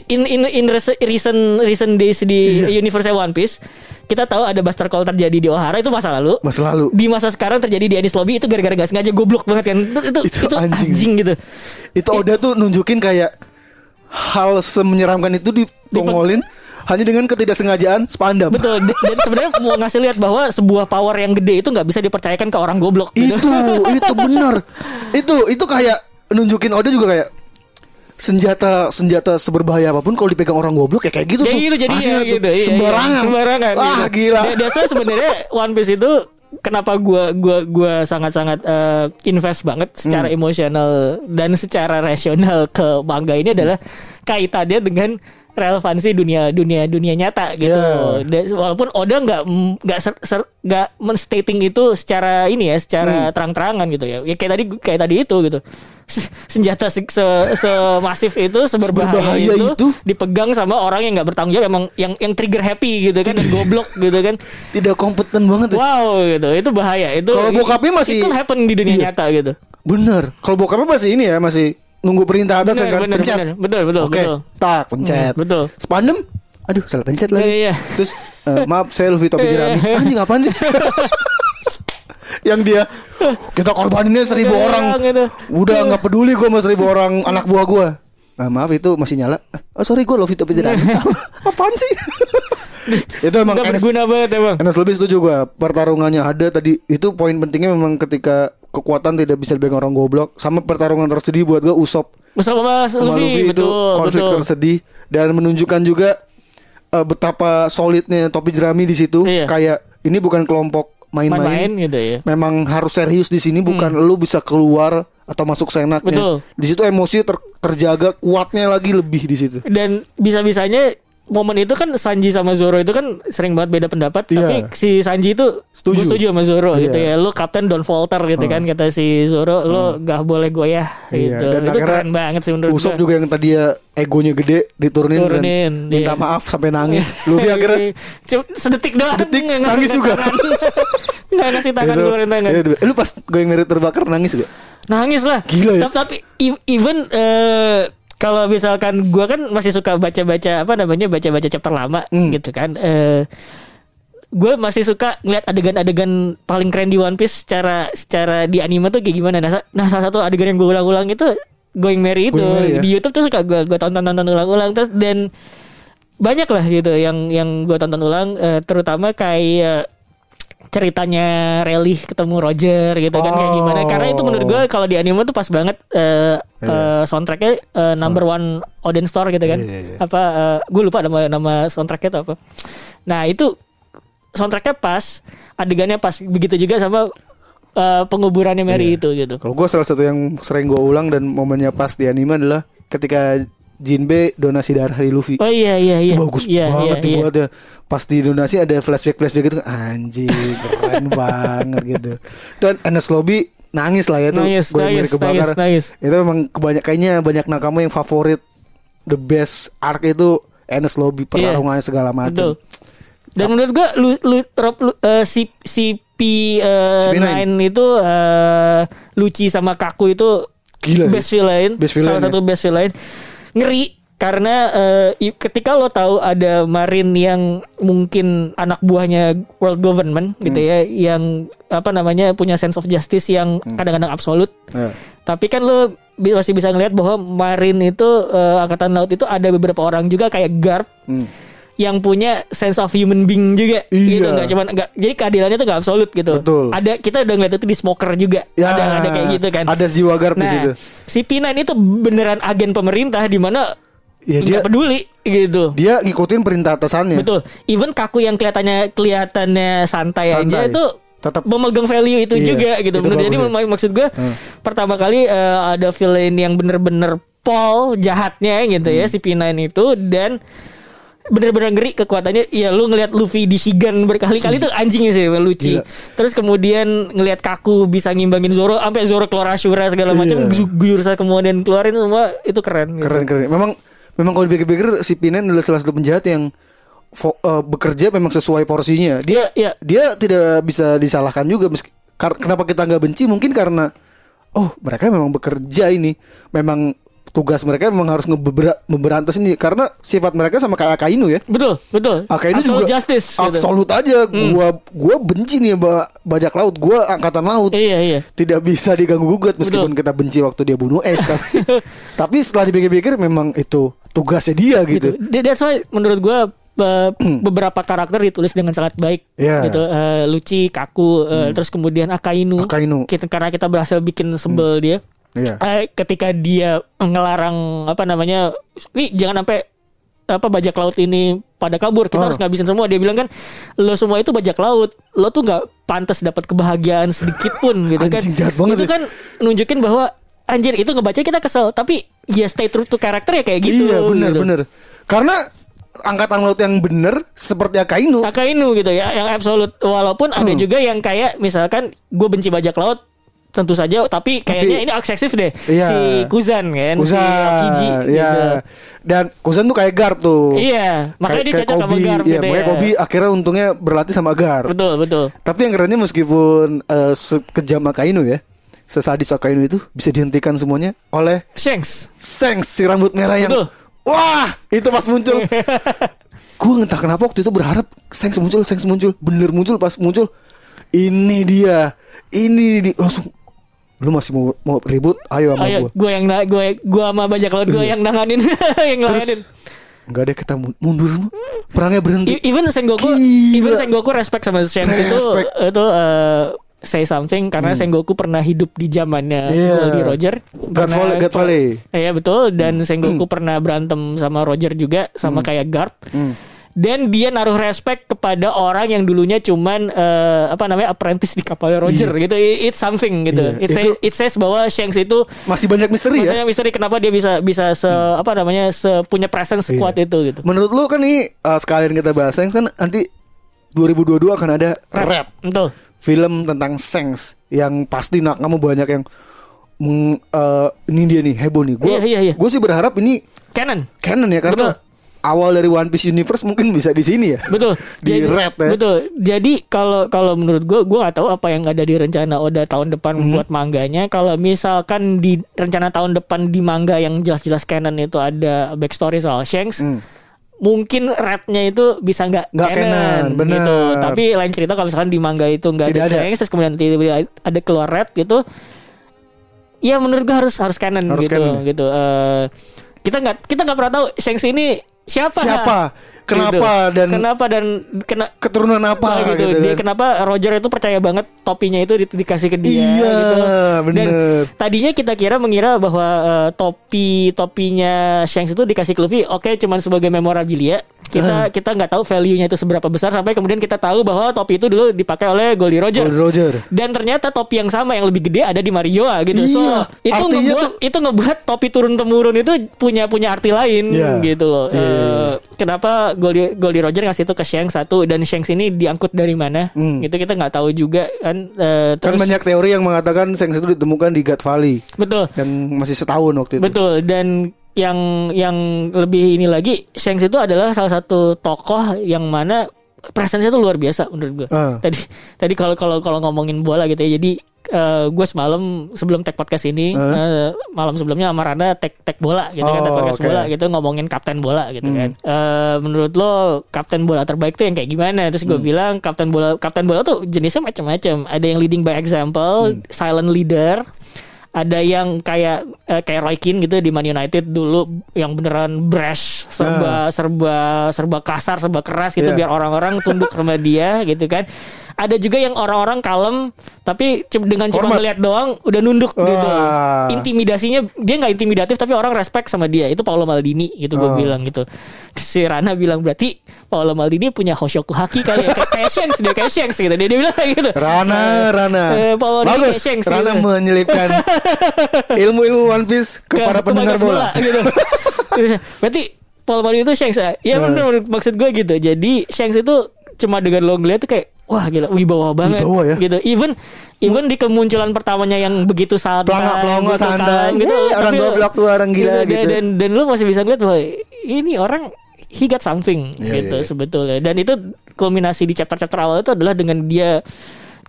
in in in rese- recent recent days di Iya. universe One Piece kita tahu ada Buster Call terjadi di O'Hara itu masa lalu. Masa lalu. Di masa sekarang terjadi di Anis Lobby itu gara-gara gak sengaja goblok banget kan. Itu itu, Itu itu anjing. anjing. gitu. Itu Oda tuh nunjukin kayak hal semenyeramkan itu ditongolin hanya dengan ketidaksengajaan spandam. Betul. D- Dan sebenarnya mau ngasih lihat bahwa sebuah power yang gede itu nggak bisa dipercayakan ke orang goblok gitu. itu itu benar itu itu kayak nunjukin Oda juga kayak senjata senjata seberbahaya apapun kalau dipegang orang goblok ya kayak gitu Ya tuh gitu jadi Hasilnya ya, tuh gitu. iya, iya. sembarangan sembarangan. wah gitu. gila Da- That's why sebenarnya One Piece itu kenapa gua gua gua sangat-sangat eh, invest banget secara Hmm. emosional dan secara rasional ke manga ini adalah kaitannya dengan relevansi dunia dunia dunia nyata gitu. Yeah. Dan- walaupun Oda nggak nggak ser, ser- nggak menstating itu secara ini ya, Hmm. secara terang-terangan gitu ya. Ya kayak tadi kayak tadi itu gitu. Se- Senjata se, se- semasif itu seberbahaya, Seberbahaya itu, itu. dipegang sama orang yang nggak bertanggung jawab emang yang yang trigger happy gitu kan dan goblok gitu kan. tidak kompeten banget ya. Wow gitu. Itu bahaya. Itu Kalau bokapnya masih- itu happen di dunia Iya. nyata gitu. bener kalau bokapnya masih ini ya masih nunggu perintah atas Bener, kan bener, pencet bener. Betul, betul, oke betul. tak pencet Hmm, betul. spandem aduh salah pencet lagi Iya, iya. terus eh, maaf saya Luffy topi jerami Ah, Iya, iya. anjing apaan sih yang dia kita korbaninnya seribu Seribu orang orang, gitu. udah nggak peduli gue sama seribu orang anak buah gue Nah, maaf itu masih nyala. Oh sorry gue Luffy topi jerami. Apaan sih? itu emang Iya. Nggak NS berguna banget emang. Enes lebih setuju gue Pertarungannya ada tadi Itu poin pentingnya memang ketika Kekuatan tidak bisa dipegang orang goblok Sama pertarungan tersedih buat gue Usop Bersama Mas sama Luffy, Luffy itu betul, konflik betul. tersedih Dan menunjukkan juga eh, Betapa solidnya topi jerami di situ Iya. Kayak ini bukan kelompok Main-main main-main gitu ya. Memang harus serius di sini Bukan lu bisa keluar Atau masuk seenaknya Betul. Di situ emosi ter- terjaga Kuatnya lagi lebih di situ dan bisa-bisanya momen itu kan Sanji sama Zoro itu kan sering banget beda pendapat Iya. tapi si Sanji itu Setuju. setuju, setuju sama Zoro Iya. Ah. gitu ya lu kapten Don Volter gitu kan kata si Zoro lu gak boleh goyah Iya, gitu dan itu akhirnya keren banget sih menurut Usop gua. juga yang tadi ya egonya gede diturunin, dan Turunin, minta iya. maaf sampai nangis. Luffy akhirnya Cuma sedetik doang Sedetik, nggak ngasih nangis juga. tangan. nggak ngasih tangan Gitu. keluarin tangan Iya, dua- Eh, lu pas gue yang merit terbakar nangis gak? nangis lah Gila ya. tapi, tapi e- even eh, kalau misalkan gua kan masih suka baca-baca apa namanya baca-baca chapter lama Hmm. gitu kan eh gue masih suka ngeliat adegan-adegan paling keren di One Piece secara secara di anime tuh kayak gimana nah, sa- nah salah satu adegan yang gue ulang-ulang itu Going Merry itu Going Merry ya? di YouTube tuh suka gue gue tonton-tonton ulang-ulang terus dan banyak lah gitu yang yang gue tonton ulang eh, terutama kayak ceritanya Relly ketemu Roger gitu kan kayak gimana karena itu Oh. menurut gue kalau di anime tuh pas banget eh Iya. eh, soundtracknya eh, number one Odin Store gitu kan iya, apa gue lupa nama nama soundtracknya itu apa nah itu soundtracknya pas adegannya pas begitu juga sama eh, penguburannya Iya. Mary itu gitu Kalau gue salah satu yang sering gue ulang dan momennya pas di anime adalah ketika Jinbe donasi darah di Luffy. oh iya iya iya Itu bagus Iya, banget iya, tuh iya. buatnya. Pas di donasi ada flashback flashback gitu anjing keren banget gitu. Dan Enes Lobby nangis lah ya tuh. Nangis, Gue yang nangis, Merit Terbakar. nangis, Itu memang kebanyak kayaknya banyak nakama yang favorit the best arc itu Enes Lobby pertarungannya segala Iya, Betul. macam. Dan menurut gua lu, lu, Rob, lu- eh, si si P eh, CP9. nine itu eh, Luci sama Kaku itu Gila sih. best villain, Best villain, salah ya. satu best villain. Ngeri karena eh, i- ketika lo tahu ada Marin yang mungkin anak buahnya world government gitu Hmm. ya, yang apa namanya punya sense of justice yang Hmm. kadang-kadang absolut. Ya. Tapi kan lo bi- masih bisa ngelihat bahwa Marin itu eh, angkatan laut itu ada beberapa orang juga kayak guard Hmm. yang punya sense of human being juga Iya. gitu nggak cuman nggak jadi keadilannya tuh nggak absolut gitu. Betul. Ada kita udah ngeliat itu di smoker juga Ya, ada ada kayak gitu kan. Ada jiwa garp di nah, situ. si P9 itu beneran agen pemerintah di mana Ya, nggak dia- peduli gitu. Dia ngikutin perintah atasannya. Betul. Even kaku yang kelihatannya kelihatannya santai, Santai. aja itu Tetap- memegang value itu Iya, juga gitu. itu Menurut jadi bagus ya. mak- maksud gue pertama kali eh, ada Hmm. villain yang bener-bener Paul jahatnya gitu ya si P9 itu dan bener-bener ngeri kekuatannya ya lu ngelihat Luffy di Shigan berkali-kali tuh anjingnya sih lucu Gila. terus kemudian ngelihat Kaku bisa ngimbangin Zoro sampai Zoro keluar Ashura segala macam Iya. yeah. saya kemudian keluarin semua itu keren gitu. keren keren memang memang kalau dipikir-pikir si Pinen adalah salah satu penjahat yang fo- eh, bekerja memang sesuai porsinya dia Iya, iya. dia tidak bisa disalahkan juga meski- kar- kenapa kita nggak benci mungkin karena oh mereka memang bekerja ini memang tugas mereka memang harus ngebebera- memberantas ini karena sifat mereka sama kayak Akainu ya betul betul Akainu Absolute juga justice gitu. absolut aja gua gua benci nih sama bajak laut gua angkatan laut iya iya tidak bisa diganggu gugat meskipun kita benci waktu dia bunuh es tapi, tapi setelah dipikir-pikir memang itu tugasnya dia gitu. gitu That- That's why menurut gua be- beberapa karakter ditulis dengan sangat baik Iya. Hmm. gitu. Eh, Luci, Kaku, eh, terus kemudian Akainu. Akainu. Kita, karena kita berhasil bikin sebel dia. Iya. Eh, ketika dia ngelarang apa namanya, "Nih, jangan sampai apa bajak laut ini pada kabur. Oh. Kita harus ngabisin semua." Dia bilang kan, "Lo semua itu bajak laut. Lo tuh nggak pantas dapat kebahagiaan sedikit pun." gitu kan. Anjing, jahat banget Itu ya. kan nunjukin bahwa anjir itu ngebaca kita kesel, tapi ya stay true to karakter ya kayak gitu. iya benar gitu. benar karena angkatan laut yang benar seperti Akainu Akainu gitu ya yang absolut walaupun ada Hmm. juga yang kayak misalkan gue benci bajak laut tentu saja tapi kayaknya ini eksesif deh Iya. si Kuzan kan si Kuzan Aokiji ya gitu. dan Kuzan tuh kayak Garp tuh iya makanya Kayak- dia kayak cocok sama Kobe. Garp Iya, gitu ya makanya Kobe akhirnya untungnya berlatih sama Garp betul betul tapi yang kerennya meskipun eh, sekejam Akainu ya sesadis Akainu itu bisa dihentikan semuanya oleh Shanks Sengs si rambut merah yang Betul. Wah itu pas muncul Gue entah kenapa waktu itu berharap Sengs muncul, Sengs muncul Bener muncul pas muncul Ini dia Ini dia Langsung Lu masih mau, mau ribut Ayo sama gue ayo gue yang na- gue gue sama bajak laut gue yang nanganin yang nanganin Terus Enggak deh kita mun- mundur semua. Perangnya berhenti I- E- even Sengoku Gila. even Sengoku respect sama Shanks itu Respect. Hmm. itu eh, say something karena Sengoku pernah hidup di zamannya Iya. Goldie Roger. God Pernah- Valley- God per- Valley. Iya betul dan Hmm. Sengoku pernah berantem sama Roger juga sama kayak Garp. Hmm. Dan dia naruh respect kepada orang yang dulunya cuman eh, apa namanya apprentice di kapal Roger gitu. I- It's something gitu. Iya, It, says, itu- it says bahwa Shanks itu Masih banyak misteri ya maksudnya misteri kenapa dia bisa bisa se apa namanya se punya presence Hmm. Iya. sekuat itu gitu. Menurut lu kan ini eh, Sekalian kita bahas Sengs kan nanti 2022 akan ada Rap Betul. film tentang Sengs yang pasti nak kamu banyak yang meng, eh, ini dia nih heboh nih. Gue Iya, iya, iya. sih berharap ini Canon. canon ya karena awal dari One Piece Universe mungkin bisa di sini ya. betul di red ya. betul jadi kalau kalau menurut gue gue nggak tahu apa yang ada di rencana Oda tahun depan Mhm. buat mangganya kalau misalkan di rencana tahun depan di manga yang jelas-jelas canon itu ada backstory soal Shanks mungkin rednya itu bisa nggak Hmm. Nggak canon, bener. gitu tapi lain cerita kalau misalkan di manga itu nggak Tidak ada, ada. Shanks terus kemudian tiba-tiba ada keluar red gitu ya menurut gue harus harus canon Harus gitu canon. gitu Eh, kita nggak kita nggak pernah tahu Shanks ini siapa Siapa? Kenapa? Gitu. Dan- kenapa dan kena Keturunan apa apa gitu, gitu, dia kan. kenapa Roger itu percaya banget topinya itu di- dikasih ke dia Iya, gitu Dan bener. tadinya kita kira mengira bahwa eh, topi topinya Shanks itu dikasih ke Luffy oke cuman sebagai memorabilia Ah. kita kita nggak tahu value nya itu seberapa besar sampai kemudian kita tahu bahwa topi itu dulu dipakai oleh Goldie Roger Goldie Roger. dan ternyata topi yang sama yang lebih gede ada di Marioa gitu so Iya, itu artinya ngebuat tuh- itu ngebuat topi turun temurun itu punya punya arti lain Iya. gitu loh Iya, iya, iya. Eh, kenapa Goldie, Goldie Roger ngasih itu ke Shanks satu dan Shanks ini diangkut dari mana gitu kita nggak tahu juga kan Eh, Hmm. Kan terus banyak teori yang mengatakan Sengs itu ditemukan di God Valley betul yang masih setahun waktu itu. betul dan yang yang lebih ini lagi Shanks itu adalah salah satu tokoh yang mana presensinya tuh luar biasa menurut gue Ah. tadi tadi kalau kalau kalau ngomongin bola gitu ya jadi gue semalam sebelum tag podcast ini eh, malam sebelumnya sama Randa tag tag bola gitu kan Ah. Oh, tag podcast oke. bola gitu ngomongin kapten bola gitu kan Hmm. Eh, menurut lo kapten bola terbaik tuh yang kayak gimana terus Hmm. gue bilang kapten bola kapten bola tuh jenisnya macam-macam ada yang leading by example Hmm. silent leader ada yang kayak eh, kayak Roy Keane gitu di Man United dulu yang beneran brash Ah. serba serba serba kasar serba keras gitu Iya. biar orang-orang tunduk sama dia gitu kan ada juga yang orang-orang kalem tapi cu- dengan cuma Hormat. melihat doang udah nunduk gitu Wah. intimidasinya dia nggak intimidatif tapi orang respect sama dia itu Paolo Maldini gitu gue bilang gitu si Rana bilang berarti Paolo Maldini punya hoshoku haki kali ya kayak kayak Shanks dia kayak Shanks gitu dia, dia bilang kayak gitu Rana, Eh, Rana. eh, Paolo Maldini kayak Bagus. Shanks Rana gitu. menyelipkan ilmu-ilmu One Piece ke Ke- para ke pendengar pemain bola. gitu. Berarti Paul Mari itu Shanks ya. Ya bener, bener, maksud gue gitu. Jadi Shanks itu cuma dengan lo ngeliat tuh kayak wah gila wibawa banget Wibawa ya. gitu. Even even di kemunculan pertamanya yang begitu santai, Pelongo-pelongo gitu, santai. kalem gitu. Eh, orang tapi lo- goblok tuh, orang gila dan- gitu. Dan dan lu masih bisa ngeliat bahwa ini orang he got something Iya, gitu iya, iya. sebetulnya. Dan itu kulminasi di chapter-chapter awal itu adalah dengan dia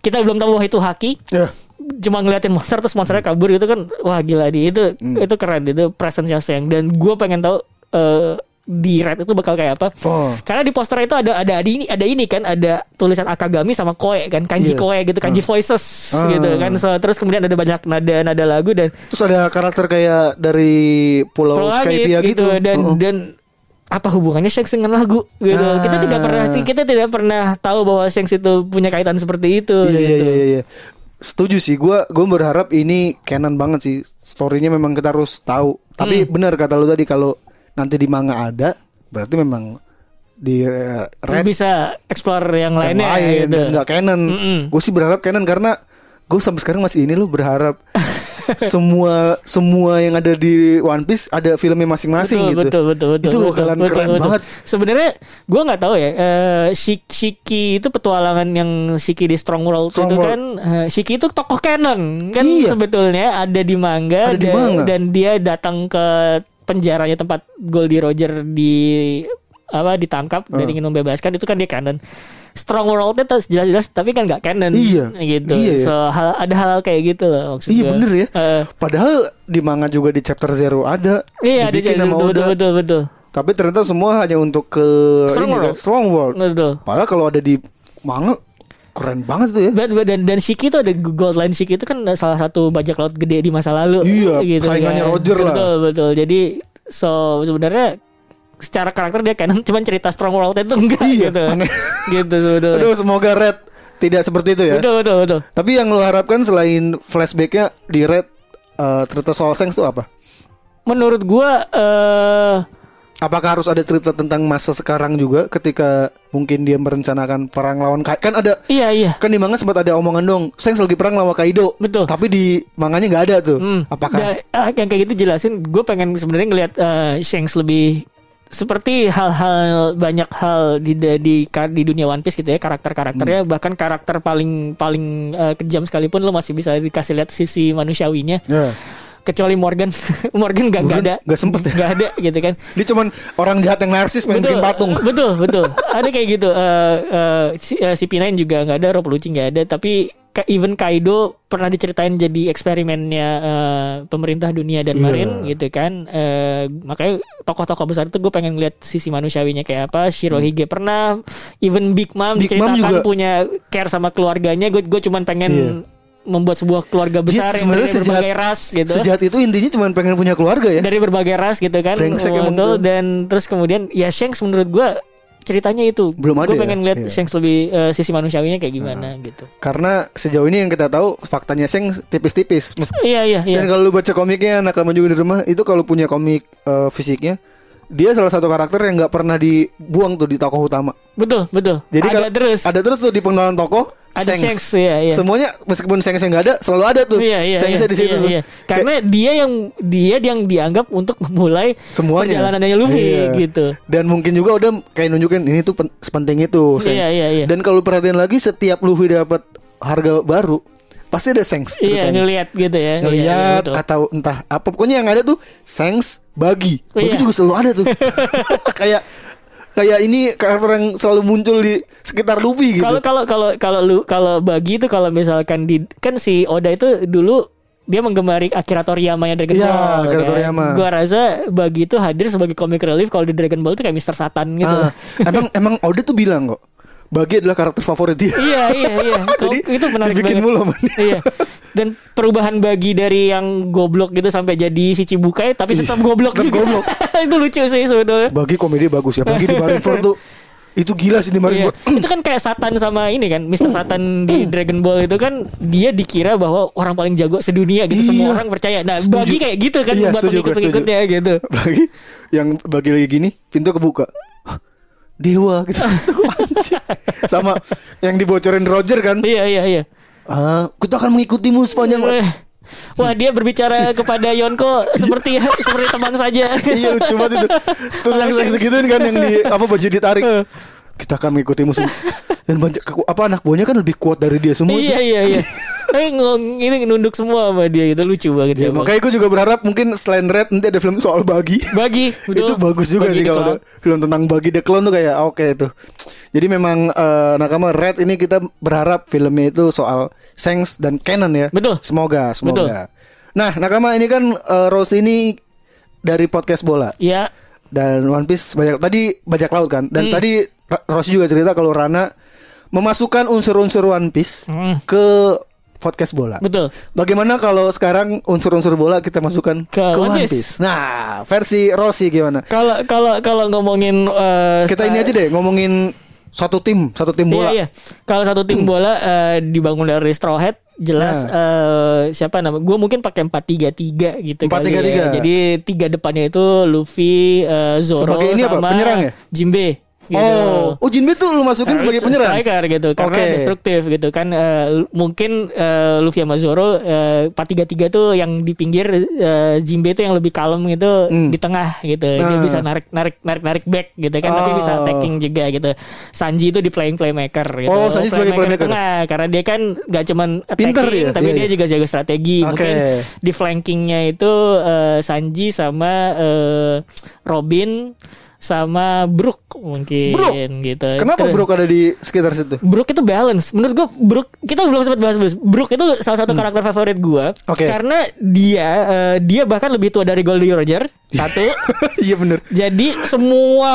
kita belum tahu bahwa itu haki Ya. cuma ngeliatin monster terus monsternya kabur gitu kan wah gila di itu Hmm. itu keren itu presence-nya Shanks dan gue pengen tahu eh, di rap itu bakal kayak apa Oh. karena di poster itu ada ada ada ini ada ini kan ada tulisan akagami sama koe kan kanji Iya. koe gitu kanji voices Ah. gitu kan So, terus kemudian ada banyak nada nada lagu dan Terus ada karakter kayak dari Pulau Pulau Langit Skypia gitu. dan Oh. dan apa hubungannya Shanks dengan lagu gitu Ah. kita tidak pernah kita tidak pernah tahu bahwa Shanks itu punya kaitan seperti itu Iya iya gitu. iya iya. Setuju sih gua gua berharap ini canon banget sih. Story-nya memang kita harus tahu. Tapi Hmm. benar kata lu tadi kalau nanti di manga ada, berarti memang di eh, red bisa explore yang yang lainnya lain gitu. dan nggak canon. Mm-mm. Gue sih berharap canon karena gue sampai sekarang masih ini loh berharap semua semua yang ada di One Piece ada filmnya masing-masing betul, gitu. betul betul betul Itu betul, bakalan betul, keren betul. banget. sebenarnya gue nggak tahu ya eh, Shik- Shiki itu petualangan yang Shiki di Strong World Strong itu World. kan eh, Shiki itu tokoh canon kan Iya. sebetulnya ada di manga, Ada di dan, manga. dan dia datang ke penjaranya tempat Goldie Roger di apa ditangkap dan Ah. ingin membebaskan itu kan dia canon Strong World-nya tas- jelas-jelas tapi kan nggak canon Iya. gitu Iya, ya. so hal, ada hal-hal kayak gitu loh maksud Iya gua. bener ya. Eh, Padahal di manga juga di chapter zero ada. Iya, di dibikin sama betul, Oda. betul, betul, betul. Tapi ternyata semua hanya untuk ke Strong ini kan, World. Strong World. Betul. Padahal kalau ada di manga keren banget tuh ya. Dan, dan, dan Shiki itu ada gold line Shiki itu kan salah satu bajak laut gede di masa lalu. Gitu kan. Iya, saingannya Roger lah. Betul, betul. Jadi so sebenarnya secara karakter dia canon cuman cerita Strong World itu enggak Iya, gitu. aneh. Gitu sebetulnya. Aduh, semoga Red tidak seperti itu ya. Betul, betul, betul. Tapi yang lo harapkan selain flashbacknya di Red eh, cerita soal Sengs itu apa? Menurut gua eh Apakah harus ada cerita tentang masa sekarang juga ketika mungkin dia merencanakan perang lawan Kaido? Kan ada iya iya. kan di manga sempat ada omongan dong, Sengs lagi perang lawan Kaido. Betul. Tapi di manganya nggak ada tuh. Hmm. Apakah Da- ah, yang kayak gitu jelasin gue pengen sebenarnya ngelihat eh, Shanks lebih seperti hal-hal banyak hal di di di dunia One Piece gitu ya karakter-karakternya Hmm. bahkan karakter paling paling eh, kejam sekalipun lo masih bisa dikasih lihat sisi manusiawinya Ya. kecuali Morgan Morgan gak, Morgan ada nggak sempet ya. Nggak ada gitu kan dia cuman orang jahat yang narsis main bikin patung? Betul, betul. ada kayak gitu. Eh, eh, si eh, CP9 juga nggak ada, Rob Lucci nggak ada. Tapi ka- even Kaido pernah diceritain jadi eksperimennya eh, pemerintah dunia dan Iya. Marin gitu kan. Eh, makanya tokoh-tokoh besar itu gue pengen lihat sisi manusiawinya kayak apa. Shirohige pernah, even Big Hmm. Mom Big Mom diceritakan juga. punya care sama keluarganya. Gue gue cuman pengen Iya. membuat sebuah keluarga besar yang dari berbagai ras gitu sejahat itu intinya cuma pengen punya keluarga ya. dari berbagai ras gitu kan Brengsek emang betul. tuh. dan terus kemudian ya Shanks menurut gua ceritanya itu Belum ada ya? gue pengen lihat Iya. Ah. Shanks lebih eh, sisi manusiawinya kayak gimana gitu Karena sejauh ini yang kita tahu faktanya Seng tipis-tipis. Mes- iya iya iya Dan kalau lu baca komiknya anak kamu juga di rumah itu kalau punya komik eh, fisiknya dia salah satu karakter yang nggak pernah dibuang tuh di tokoh utama. betul betul Jadi ada kalau- terus Ada terus tuh di pengenalan tokoh. Ada Sengs. Sengs, iya, iya. Semuanya meskipun Sengs yang nggak ada selalu ada tuh. Iya, iya, Sengs iya, di situ. iya, tuh. iya. Karena dia yang dia yang dianggap untuk memulai Kayak semuanya perjalanannya Luffy Iya. gitu. Dan mungkin juga udah kayak nunjukin ini tuh pen- sepenting itu. Sengs. Iya, iya, iya. Dan kalau perhatian lagi setiap Luffy dapat harga baru pasti ada Sengs Iya, ceritanya. ngelihat gitu ya. Iya, iya, ngeliat betul. atau entah apa pokoknya yang ada tuh sengs bagi bagi Iya. juga selalu ada tuh kayak kayak ini karakter yang selalu muncul di sekitar Luffy gitu Kalau kalau kalau kalau lu kalau bagi itu kalau misalkan di kan si Oda itu dulu dia menggemari Akira Toriyama yang Dragon Iya, Ball. Akira kan. Toriyama. Gua rasa bagi itu hadir sebagai comic relief kalau di Dragon Ball itu kayak Mr. Satan gitu. Ah, emang emang Oda tuh bilang kok bagi adalah karakter favorit dia iya, iya, iya. Kalau- Jadi, itu menarik dibikin banget. mulu sama dia. iya. Dan perubahan bagi dari yang goblok gitu sampai jadi si Cibukai tapi tetap goblok Iya. tetap juga. goblok. itu lucu sih sebetulnya. bagi komedi bagus ya bagi di Marineford tuh itu gila sih di Iya. Marineford itu kan kayak Satan sama ini kan Mr. Satan di Hmm. Dragon Ball itu kan dia dikira bahwa orang paling jago sedunia gitu Iya. semua orang percaya nah Setuju. bagi kayak gitu kan Iya, setuju, buat gue setuju. pengikut-pengikutnya gitu bagi yang bagi lagi gini pintu kebuka Hah, dewa gitu Anjing. sama yang dibocorin Roger kan iya iya iya Ah, kita akan mengikutimu sepanjang Eh, Wah dia berbicara kepada Yonko seperti seperti teman saja. iya lucu banget itu terus langsung segituin kan yang di apa baju ditarik Eh. kita akan mengikuti musuh dan banyak keku- apa anak buahnya kan lebih kuat dari dia semua iya iya iya. Tapi ngong- ini nunduk semua sama dia itu lucu Ya, banget sih. Iya, Bang. makanya gue juga berharap mungkin selain Red nanti ada film soal bagi. Bagi, betul. itu bagus juga Bagi kan. sih The kalau ada Clown. film tentang bagi the clone tuh kayak ah, oke itu. Jadi memang eh, nakama Red ini kita berharap filmnya itu soal Sengs dan Canon ya. Betul. Semoga, Betul. semoga. Nah, nakama ini kan eh, Rose ini dari podcast bola Iya. dan One Piece banyak tadi bajak laut kan Hmm. dan tadi Ra- Rossi juga cerita kalau Rana memasukkan unsur-unsur One Piece Hmm. ke podcast bola. Betul. Bagaimana kalau sekarang unsur-unsur bola kita masukkan ke, Ke One One Piece? Piece. Nah, versi Rossi gimana? Kalau kalau kalau ngomongin eh, Kita sta- ini aja deh ngomongin satu tim, satu tim bola. Iya, iya. Kalau satu tim bola eh, dibangun dari straw hat jelas Nah. eh, siapa nama? Gue mungkin pakai 4-3-3 gitu kali ya. 4-3-3. Jadi tiga depannya itu Luffy, eh, Zoro Sebagai ini apa? sama Penyerang ya? Jinbe. gitu. Oh, oh Jinbe tuh lu masukin Harus sebagai penyerang. striker gitu karena Oke. destruktif gitu kan eh, l- mungkin eh, Luffy sama Zoro eh, 4-3-3 tuh yang di pinggir eh, Jinbe tuh yang lebih kalem gitu Hmm. di tengah gitu dia Nah. bisa narik narik narik narik back gitu kan tapi Oh. bisa attacking juga gitu Sanji itu di playing playmaker gitu Oh, Sanji sebagai playmaker. Playmaker di tengah karena dia kan gak cuman attacking Pinter dia. tapi Iya, dia iya. juga jago strategi Oke. mungkin di flankingnya itu eh, Sanji sama eh, Robin sama Brook mungkin Brook? gitu Kenapa Terus- Brook ada di sekitar situ? Brook itu balance. Menurut gue Brook kita belum sempat bahas Brook. Brook itu salah satu karakter favorit gue. Hmm. Oke. Karena dia eh, dia bahkan lebih tua dari Goldie Roger. Satu. Iya bener Jadi semua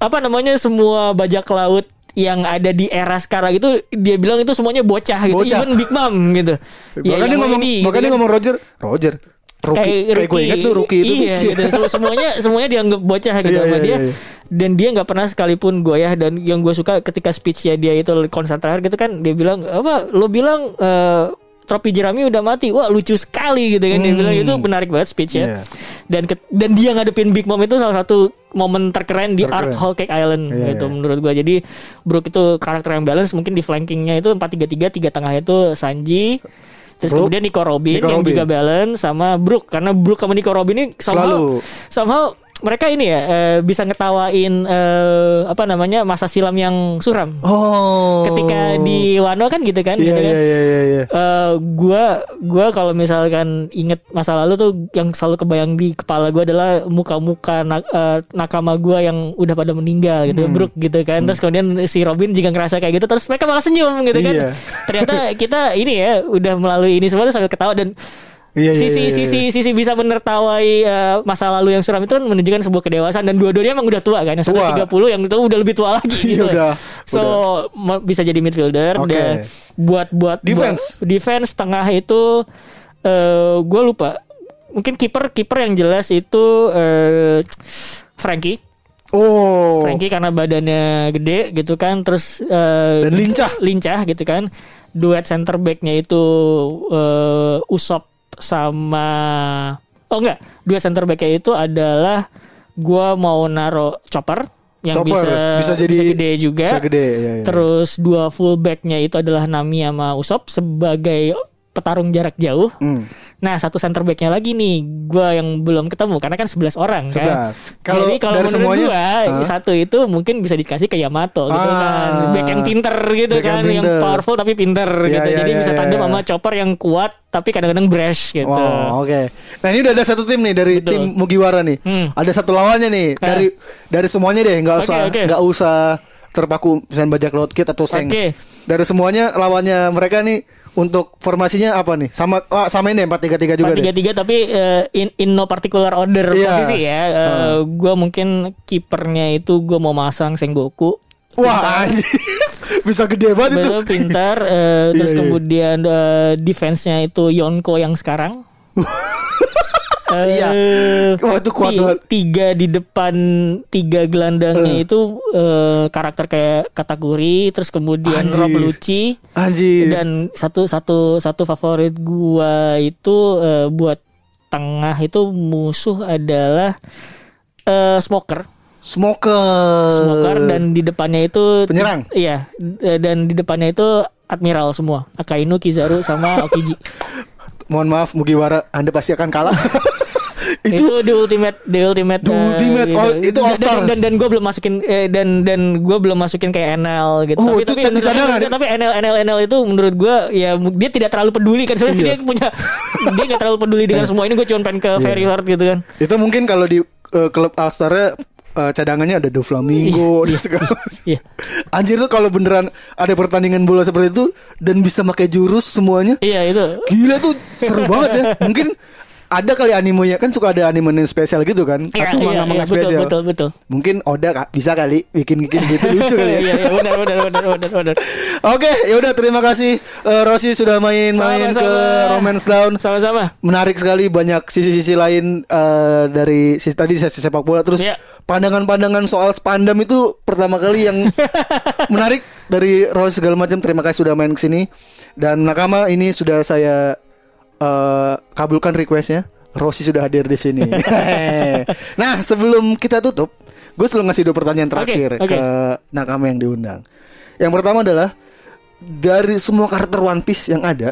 apa namanya semua bajak laut yang ada di era sekarang itu dia bilang itu semuanya bocah gitu Bocah. even Big Mom gitu. Ya, Bahkan dia yang ngomong, ini, bahkan gitu dia kan. ngomong Roger, Roger. Rookie. Kayak gue rookie. inget tuh rookie itu. Eh, iya, gitu. Sem- semuanya semuanya dianggap bocah gitu Iya, sama iya, dia iya. dan dia nggak pernah sekalipun goyah dan yang gue suka ketika speechnya dia itu konser terakhir gitu kan dia bilang apa lo bilang eh, tropi jerami udah mati wah lucu sekali gitu kan dia bilang itu menarik banget speechnya Hmm. Iya. dan ke- dan dia ngadepin Big Mom itu salah satu momen terkeren di Terkeren. Art Hall Cake Island Iya, gitu iya. menurut gua jadi Brook itu karakter yang balance mungkin di flankingnya itu 4-3-3 tiga tengahnya itu Sanji terus Brook, kemudian Nico Robin Nico yang Robin. juga balance sama Brook karena Brook sama Nico Robin ini somehow, Selalu. somehow mereka ini ya eh, bisa ngetawain eh, apa namanya masa silam yang suram Oh. ketika di Wano kan gitu kan Iya, gitu kan. iya, iya, iya, iya. Eh, gua gua kalau misalkan inget masa lalu tuh yang selalu kebayang di kepala gua adalah muka-muka na- eh, nakama gua yang udah pada meninggal gitu Hmm. Brook gitu kan terus kemudian si Robin juga ngerasa kayak gitu terus mereka malah senyum gitu kan Iya. ternyata kita ini ya udah melalui ini semua tuh sambil ketawa dan Iya, iya, sisi iya, iya. sisi sisi bisa menertawai eh, masa lalu yang suram itu kan menunjukkan sebuah kedewasaan dan dua-duanya emang udah tua kan yang satu Tua. Iya, 30 yang itu udah lebih tua lagi gitu. udah, so ma- bisa jadi midfielder Oke. dan buat buat Defense. buat- defense tengah itu eh gue lupa mungkin kiper kiper yang jelas itu eh Frankie Oh. Frankie karena badannya gede gitu kan terus eh, Dan lincah. lincah gitu kan duet center backnya itu eh, Usop sama oh enggak duet center backnya itu adalah gua mau naro chopper yang Chopper, bisa bisa jadi- gede juga bisa gede, iya, iya. terus dua fullbacknya itu adalah Nami sama Usop sebagai petarung jarak jauh Hmm. Nah satu center backnya lagi nih Gua yang belum ketemu Karena kan 11 orang kan 11. Kalau Jadi kalau dari menurut semuanya, gua, ah? Satu itu mungkin bisa dikasih ke Yamato gitu Ah. kan Back yang pinter gitu Back yang kan Yang pinter. powerful tapi pinter Iya, gitu iya, Jadi iya, bisa iya, tandem iya. sama Chopper yang kuat Tapi kadang-kadang brash gitu Oh, oke. Nah, ini udah ada satu tim nih dari Betul. tim Mugiwara nih. Hmm. Eh. Ada satu lawannya nih dari dari semuanya deh, nggak Oke, usah oke. nggak usah terpaku misalnya bajak laut kit atau seng. Oke. Dari semuanya lawannya mereka nih untuk formasinya apa nih? Sama ah, sama ini empat tiga tiga juga deh. tiga tiga tapi eh, in in no particular order Iya. posisi ya. Eh, Gua mungkin kipernya itu gua mau masang Sengoku. Wah, anjing. bisa gede banget itu. Betul pintar eh, Iya, terus iya. kemudian eh, defense-nya itu Yonko yang sekarang. Iya. Eh, Wah, itu kuat ti- banget. Tiga di depan tiga gelandangnya itu eh, karakter kayak kategori terus kemudian Anjir. Iya. Rob Lucci Anjir. dan satu satu satu favorit gua itu eh, buat tengah itu musuh adalah eh, smoker Smoker. smoker dan di depannya Eh, itu Penyerang? Iya, d- dan di depannya itu admiral semua. Akainu, Kizaru sama Okiji. mohon maaf Mugiwara Anda pasti akan kalah. itu, itu di ultimate di ultimate The eh, Ultimate, gitu. oh, itu dan, altar. dan, dan, dan gue belum masukin eh, dan dan gue belum masukin kayak NL gitu Oh, itu kan di menurut- sana kan? tapi NL NL NL itu menurut gue ya mu- dia tidak terlalu peduli kan Iya. sebenarnya dia punya dia nggak terlalu peduli dengan semua ini gue cuma pengen ke very hard gitu kan itu mungkin kalau di eh, klub Alstar cadangannya ada Doflamingo dan segala macam. iya. Anjir tuh kalau beneran ada pertandingan bola seperti itu dan bisa pakai jurus semuanya. iya itu Gila tuh seru banget ya. Mungkin ada kali animenya kan suka ada anime spesial gitu kan. Iya, Atau iya, manga-manga iya, betul, spesial. betul, betul. Mungkin Oda ka- bisa kali bikin-bikin gitu lucu kali ya. iya iya benar benar benar benar benar Oke, ya udah terima kasih eh, Rossi sudah main-main ke Sama-sama. Romance Down. sama-sama Menarik sekali banyak sisi-sisi lain eh, dari sisi tadi sisi sepak bola terus Iya. pandangan-pandangan soal spandam itu pertama kali yang menarik dari Rossi segala macam. Terima kasih sudah main kesini dan nakama ini sudah saya eh, kabulkan requestnya. Rossi sudah hadir di sini. nah, sebelum kita tutup, gue selalu ngasih dua pertanyaan terakhir oke. ke nakama yang diundang. Yang pertama adalah dari semua karakter One Piece yang ada,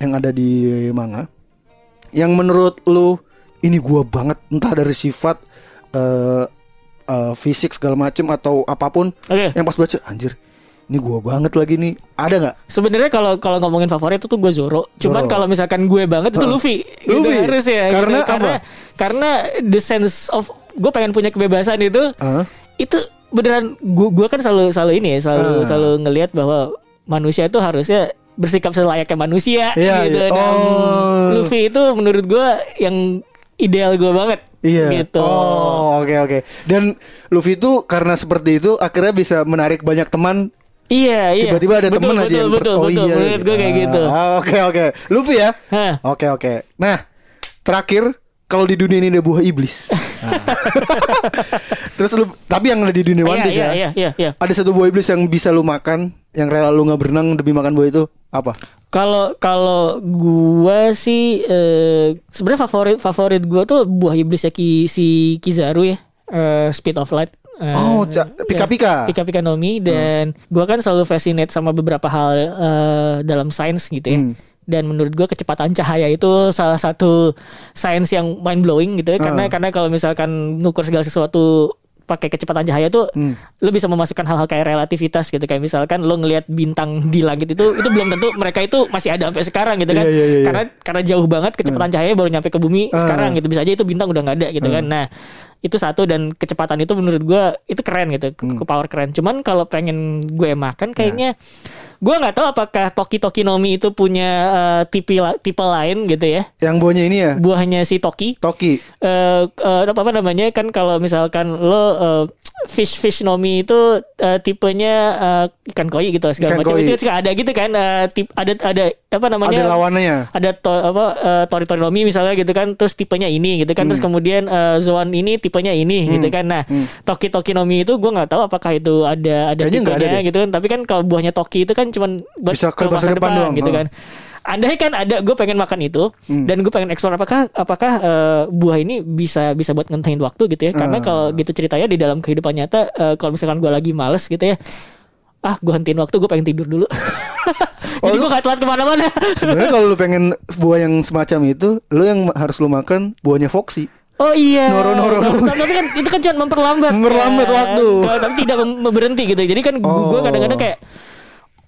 yang ada di manga, yang menurut lu ini gua banget entah dari sifat eh eh, fisik segala macem atau apapun, Oke. yang pas baca anjir ini gua banget lagi nih ada nggak? Sebenarnya kalau kalau ngomongin favorit itu tuh gue Zoro. Cuman Zoro. kalau misalkan gue banget itu Heeh. Luffy. Luffy? Itu harus ya. gitu. Karena karena, apa? karena the sense of gue pengen punya kebebasan itu. Heeh. Itu beneran gue gue kan selalu selalu ini ya, selalu Heeh. selalu ngelihat bahwa manusia itu harusnya bersikap selayaknya manusia Iya, iya. gitu. Dan Oh. Luffy itu menurut gue yang ideal gue banget. Iya. Gitu. Oh, oke oke. Dan Luffy itu karena seperti itu akhirnya bisa menarik banyak teman. Iya, iya. Tiba-tiba ada Betul, teman aja betul, yang betul, per- betul. Menurut gue kayak Ah, gitu. ah, Oke oke. Luffy ya. Hah. Oke oke. Nah, terakhir kalau di dunia ini ada buah iblis. Nah. Terus lu tapi yang ada di dunia One Iya, Piece iya, ya. iya, iya, iya. Ada satu buah iblis yang bisa lu makan, yang rela lu nggak berenang demi makan buah itu apa? Kalau kalau gua sih eh, sebenarnya favorit favorit gua tuh buah iblis ya Ki- si Kizaru ya eh, Speed of Light. Eh, Oh, ca- pika-pika. ya, pika-pika nomi dan gua kan selalu fascinate sama beberapa hal eh, dalam sains gitu ya. Hmm. Dan menurut gua kecepatan cahaya itu salah satu sains yang mind blowing gitu ya. Ah. Karena karena kalau misalkan nukur segala sesuatu pakai kecepatan cahaya tuh Hmm. lo bisa memasukkan hal-hal kayak relativitas gitu kayak misalkan lo ngelihat bintang di langit itu itu belum tentu mereka itu masih ada sampai sekarang gitu kan Iya, iya, iya, iya. karena karena jauh banget kecepatan Hmm. cahayanya baru nyampe ke bumi Ah. sekarang gitu bisa aja itu bintang udah nggak ada gitu kan nah itu satu dan kecepatan itu menurut gua itu keren gitu Hmm. ke ke power keren cuman kalau pengen gue Iya. makan kayaknya gua nggak tahu apakah Toki Toki Nomi itu punya eh, tipe la- tipe lain gitu ya Yang buahnya ini ya. buahnya si Toki Toki. eh eh, apa apa namanya kan kalau misalkan lo eh, fish fish nomi itu eh, tipenya eh, ikan koi gitu Ikan segala macam koi. itu suka ada gitu kan eh, tip- ada ada apa namanya Ada lawannya. ada to, apa eh, tori tori nomi misalnya gitu kan terus tipenya ini gitu kan terus Hmm. kemudian eh, zoan ini tipenya ini gitu kan nah toki toki nomi itu gue nggak tahu apakah itu ada ada Kayaknya nggak ada tipenya deh. gitu kan tapi kan kalau buahnya toki itu kan cuman buat Bisa ke ke masa depan doang, Oh. Hmm. gitu ha. kan andai kan ada gue pengen makan itu dan gue pengen eksplor apakah apakah eh, buah ini bisa bisa buat ngentengin waktu gitu ya karena Ah. kalau gitu ceritanya di dalam kehidupan nyata eh, kalau misalkan gue lagi males gitu ya ah gue hentiin waktu gue pengen tidur dulu Oh, jadi lu- gue gak telat kemana-mana Sebenarnya kalau lu pengen buah yang semacam itu, lu yang ma- harus lu makan buahnya Foxy. oh iya Noro, noro, noro. tapi kan itu kan cuma memperlambat Memperlambat kan. waktu. Kalau- tapi tidak mem- berhenti gitu jadi kan gue Oh. kadang-kadang kayak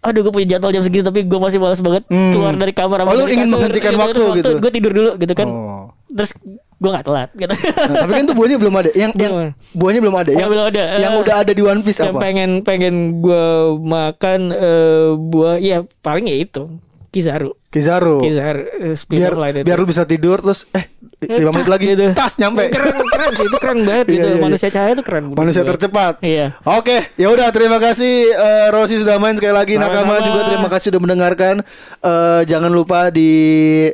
Aduh gue punya jadwal jam segini Tapi gue masih malas banget Hmm. Keluar dari kamar Oh, lu ingin menghentikan waktu gitu. Gue tidur dulu gitu kan Oh. Terus gue gak telat gitu Nah, tapi kan itu buahnya belum ada. Yang yang Belum. buahnya belum ada. Yang Yang belum ada. Yang Eh, udah ada di One Piece apa? yang pengen pengen gue makan eh, buah ya paling ya itu kizaru Kizaru. kizaru eh, Oh. speed Biar of light itu. biar lu bisa tidur terus eh Eh, 5 menit tas lagi gitu. tas nyampe. keren keren sih itu keren banget Iya, gitu iya, iya. manusia cahaya itu keren menurut Manusia gua. tercepat. Iya. Oke, ya udah terima kasih eh, Rosi sudah main sekali lagi Nakama Sama-sama. juga terima kasih sudah mendengarkan. Eh, jangan lupa di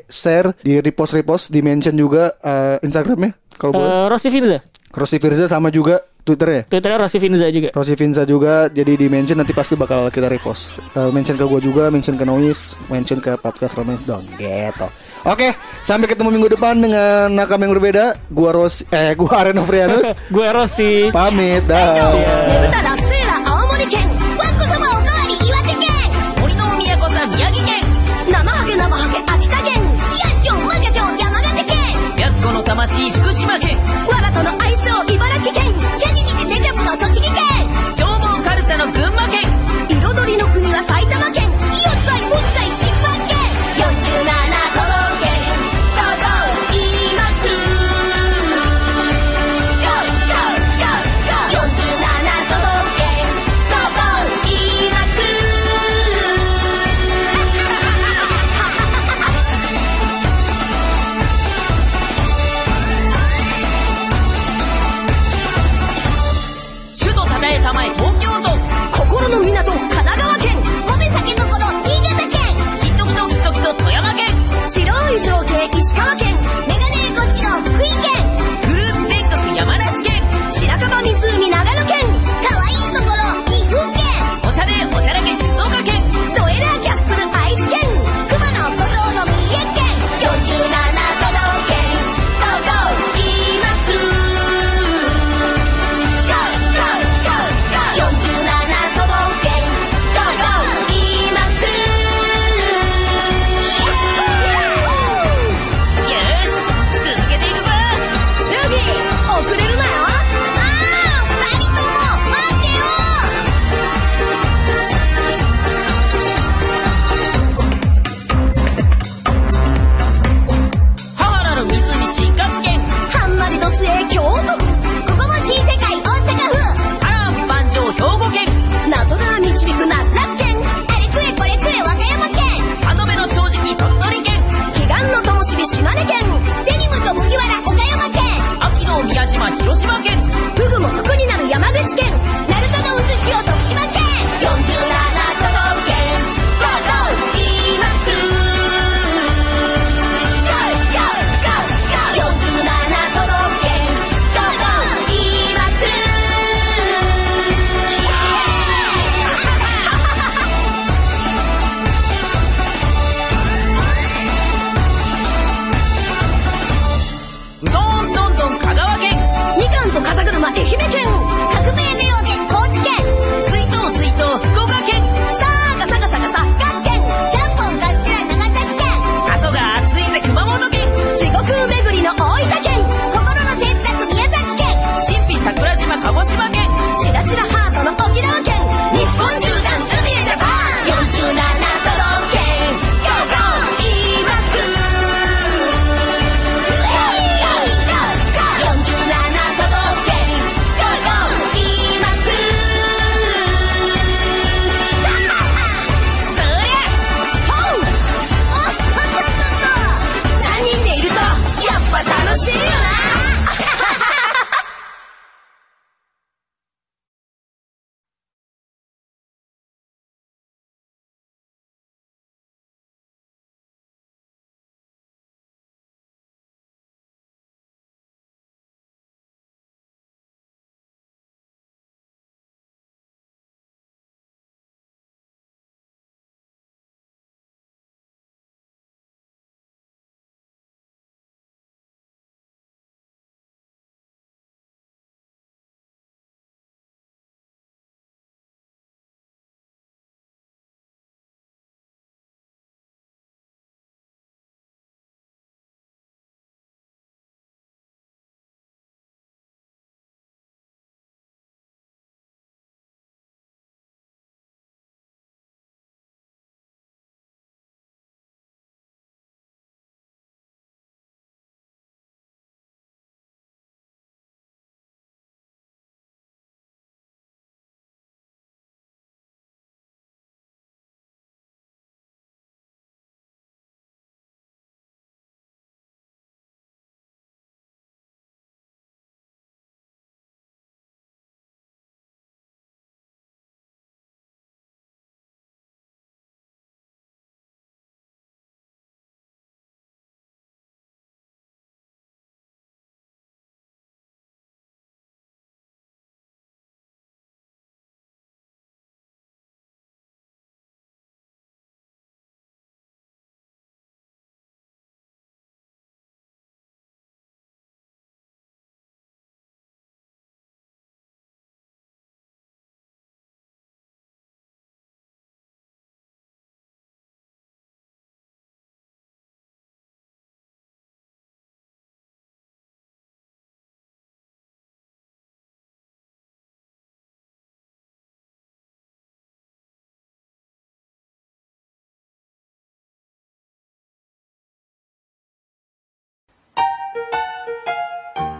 share, di repost repost, di mention juga eh, Instagramnya kalau boleh. Eh, Rossi Finza Rosi Firza sama juga Twitternya. twitternya Rossi Finza juga Rosi Vinza juga jadi di mention nanti pasti bakal kita repost. Eh, mention ke gue juga, mention ke Noise, mention ke podcast Romance Down. Gitu. Oke, sampai ketemu minggu depan dengan nakam yang berbeda. Gua Ros eh gua Areno Frianus. gue Rossi Pamit dah. ねぶたラッセーラ青森県わんこそばおかわり岩手県森の都さ宮城県生ハゲ生ハゲ秋田県よいしょましい福島県わらとの愛称茨城県シャニにてネジャブの栃木県縄文かるたの群馬県彩りの国は埼玉県イオッサイポッサイチンパン県47都道府県どこいまくる Go, go, go, go 47都道府県どこいまくる首都栄えたまえ東京都心の港神奈川県褒め酒どころ新潟県きっときときっときと富山県白い象形石川県メガネ越しの福井県フルーツ天国山梨県白樺湖長野県かわいいところ岐阜県お茶でおちゃらけ静岡県ドエラーキャッスル愛知県熊野古道の三重県47都道府県どこ今来る Go, go, go, go 47都道府県どこ今来る Yahoo! よーし続けていくぞルビー遅れるなよああ二人とも待ってよハワラの湖新幹線ハンマリと末京都府ここも新世界大阪波乱万丈兵庫県府謎が導くな楽天あれくれこれくれ和歌山県三度目の正直鳥取県彼岸の灯火島根県デニムと麦わら岡山県秋の宮島広島県フグも服になる山口県鳴門のうずしお徳島県47都道府県どこ今来る Go, go, go, go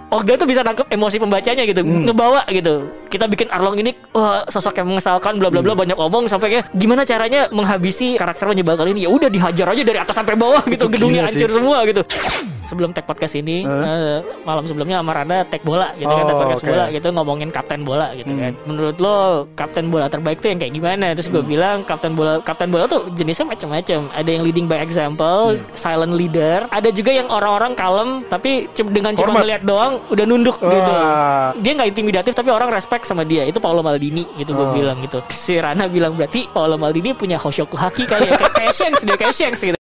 Ogda Oh, tuh bisa nangkep emosi pembacanya gitu, Hmm. ngebawa gitu. Kita bikin Arlong ini wah, sosok yang mengesalkan bla bla Hmm. bla banyak omong sampai kayak gimana caranya menghabisi karakter menyebalkan ini? Ya udah dihajar aja dari atas sampai bawah gitu, Itu gedungnya gila sih. hancur semua gitu. Sebelum tag podcast ini eh, malam sebelumnya sama Randa tag bola gitu kan, tag Oh, podcast oke. bola gitu ngomongin kapten bola gitu kan. Menurut lo kapten bola terbaik tuh yang kayak gimana? Terus gue bilang kapten bola kapten bola tuh jenisnya macam-macam. Ada yang leading by example, silent leader. Ada juga yang orang-orang kalem tapi c- dengan cuma Hormat. ngeliat doang udah nunduk gitu. Wah. Dia nggak intimidatif tapi orang respect sama dia. Itu Paolo Maldini gitu gue bilang gitu. Si Rana bilang berarti Paolo Maldini punya Hoshoku Haki kali ya. Kayak Kaya Shanks, dia kayak Shanks gitu.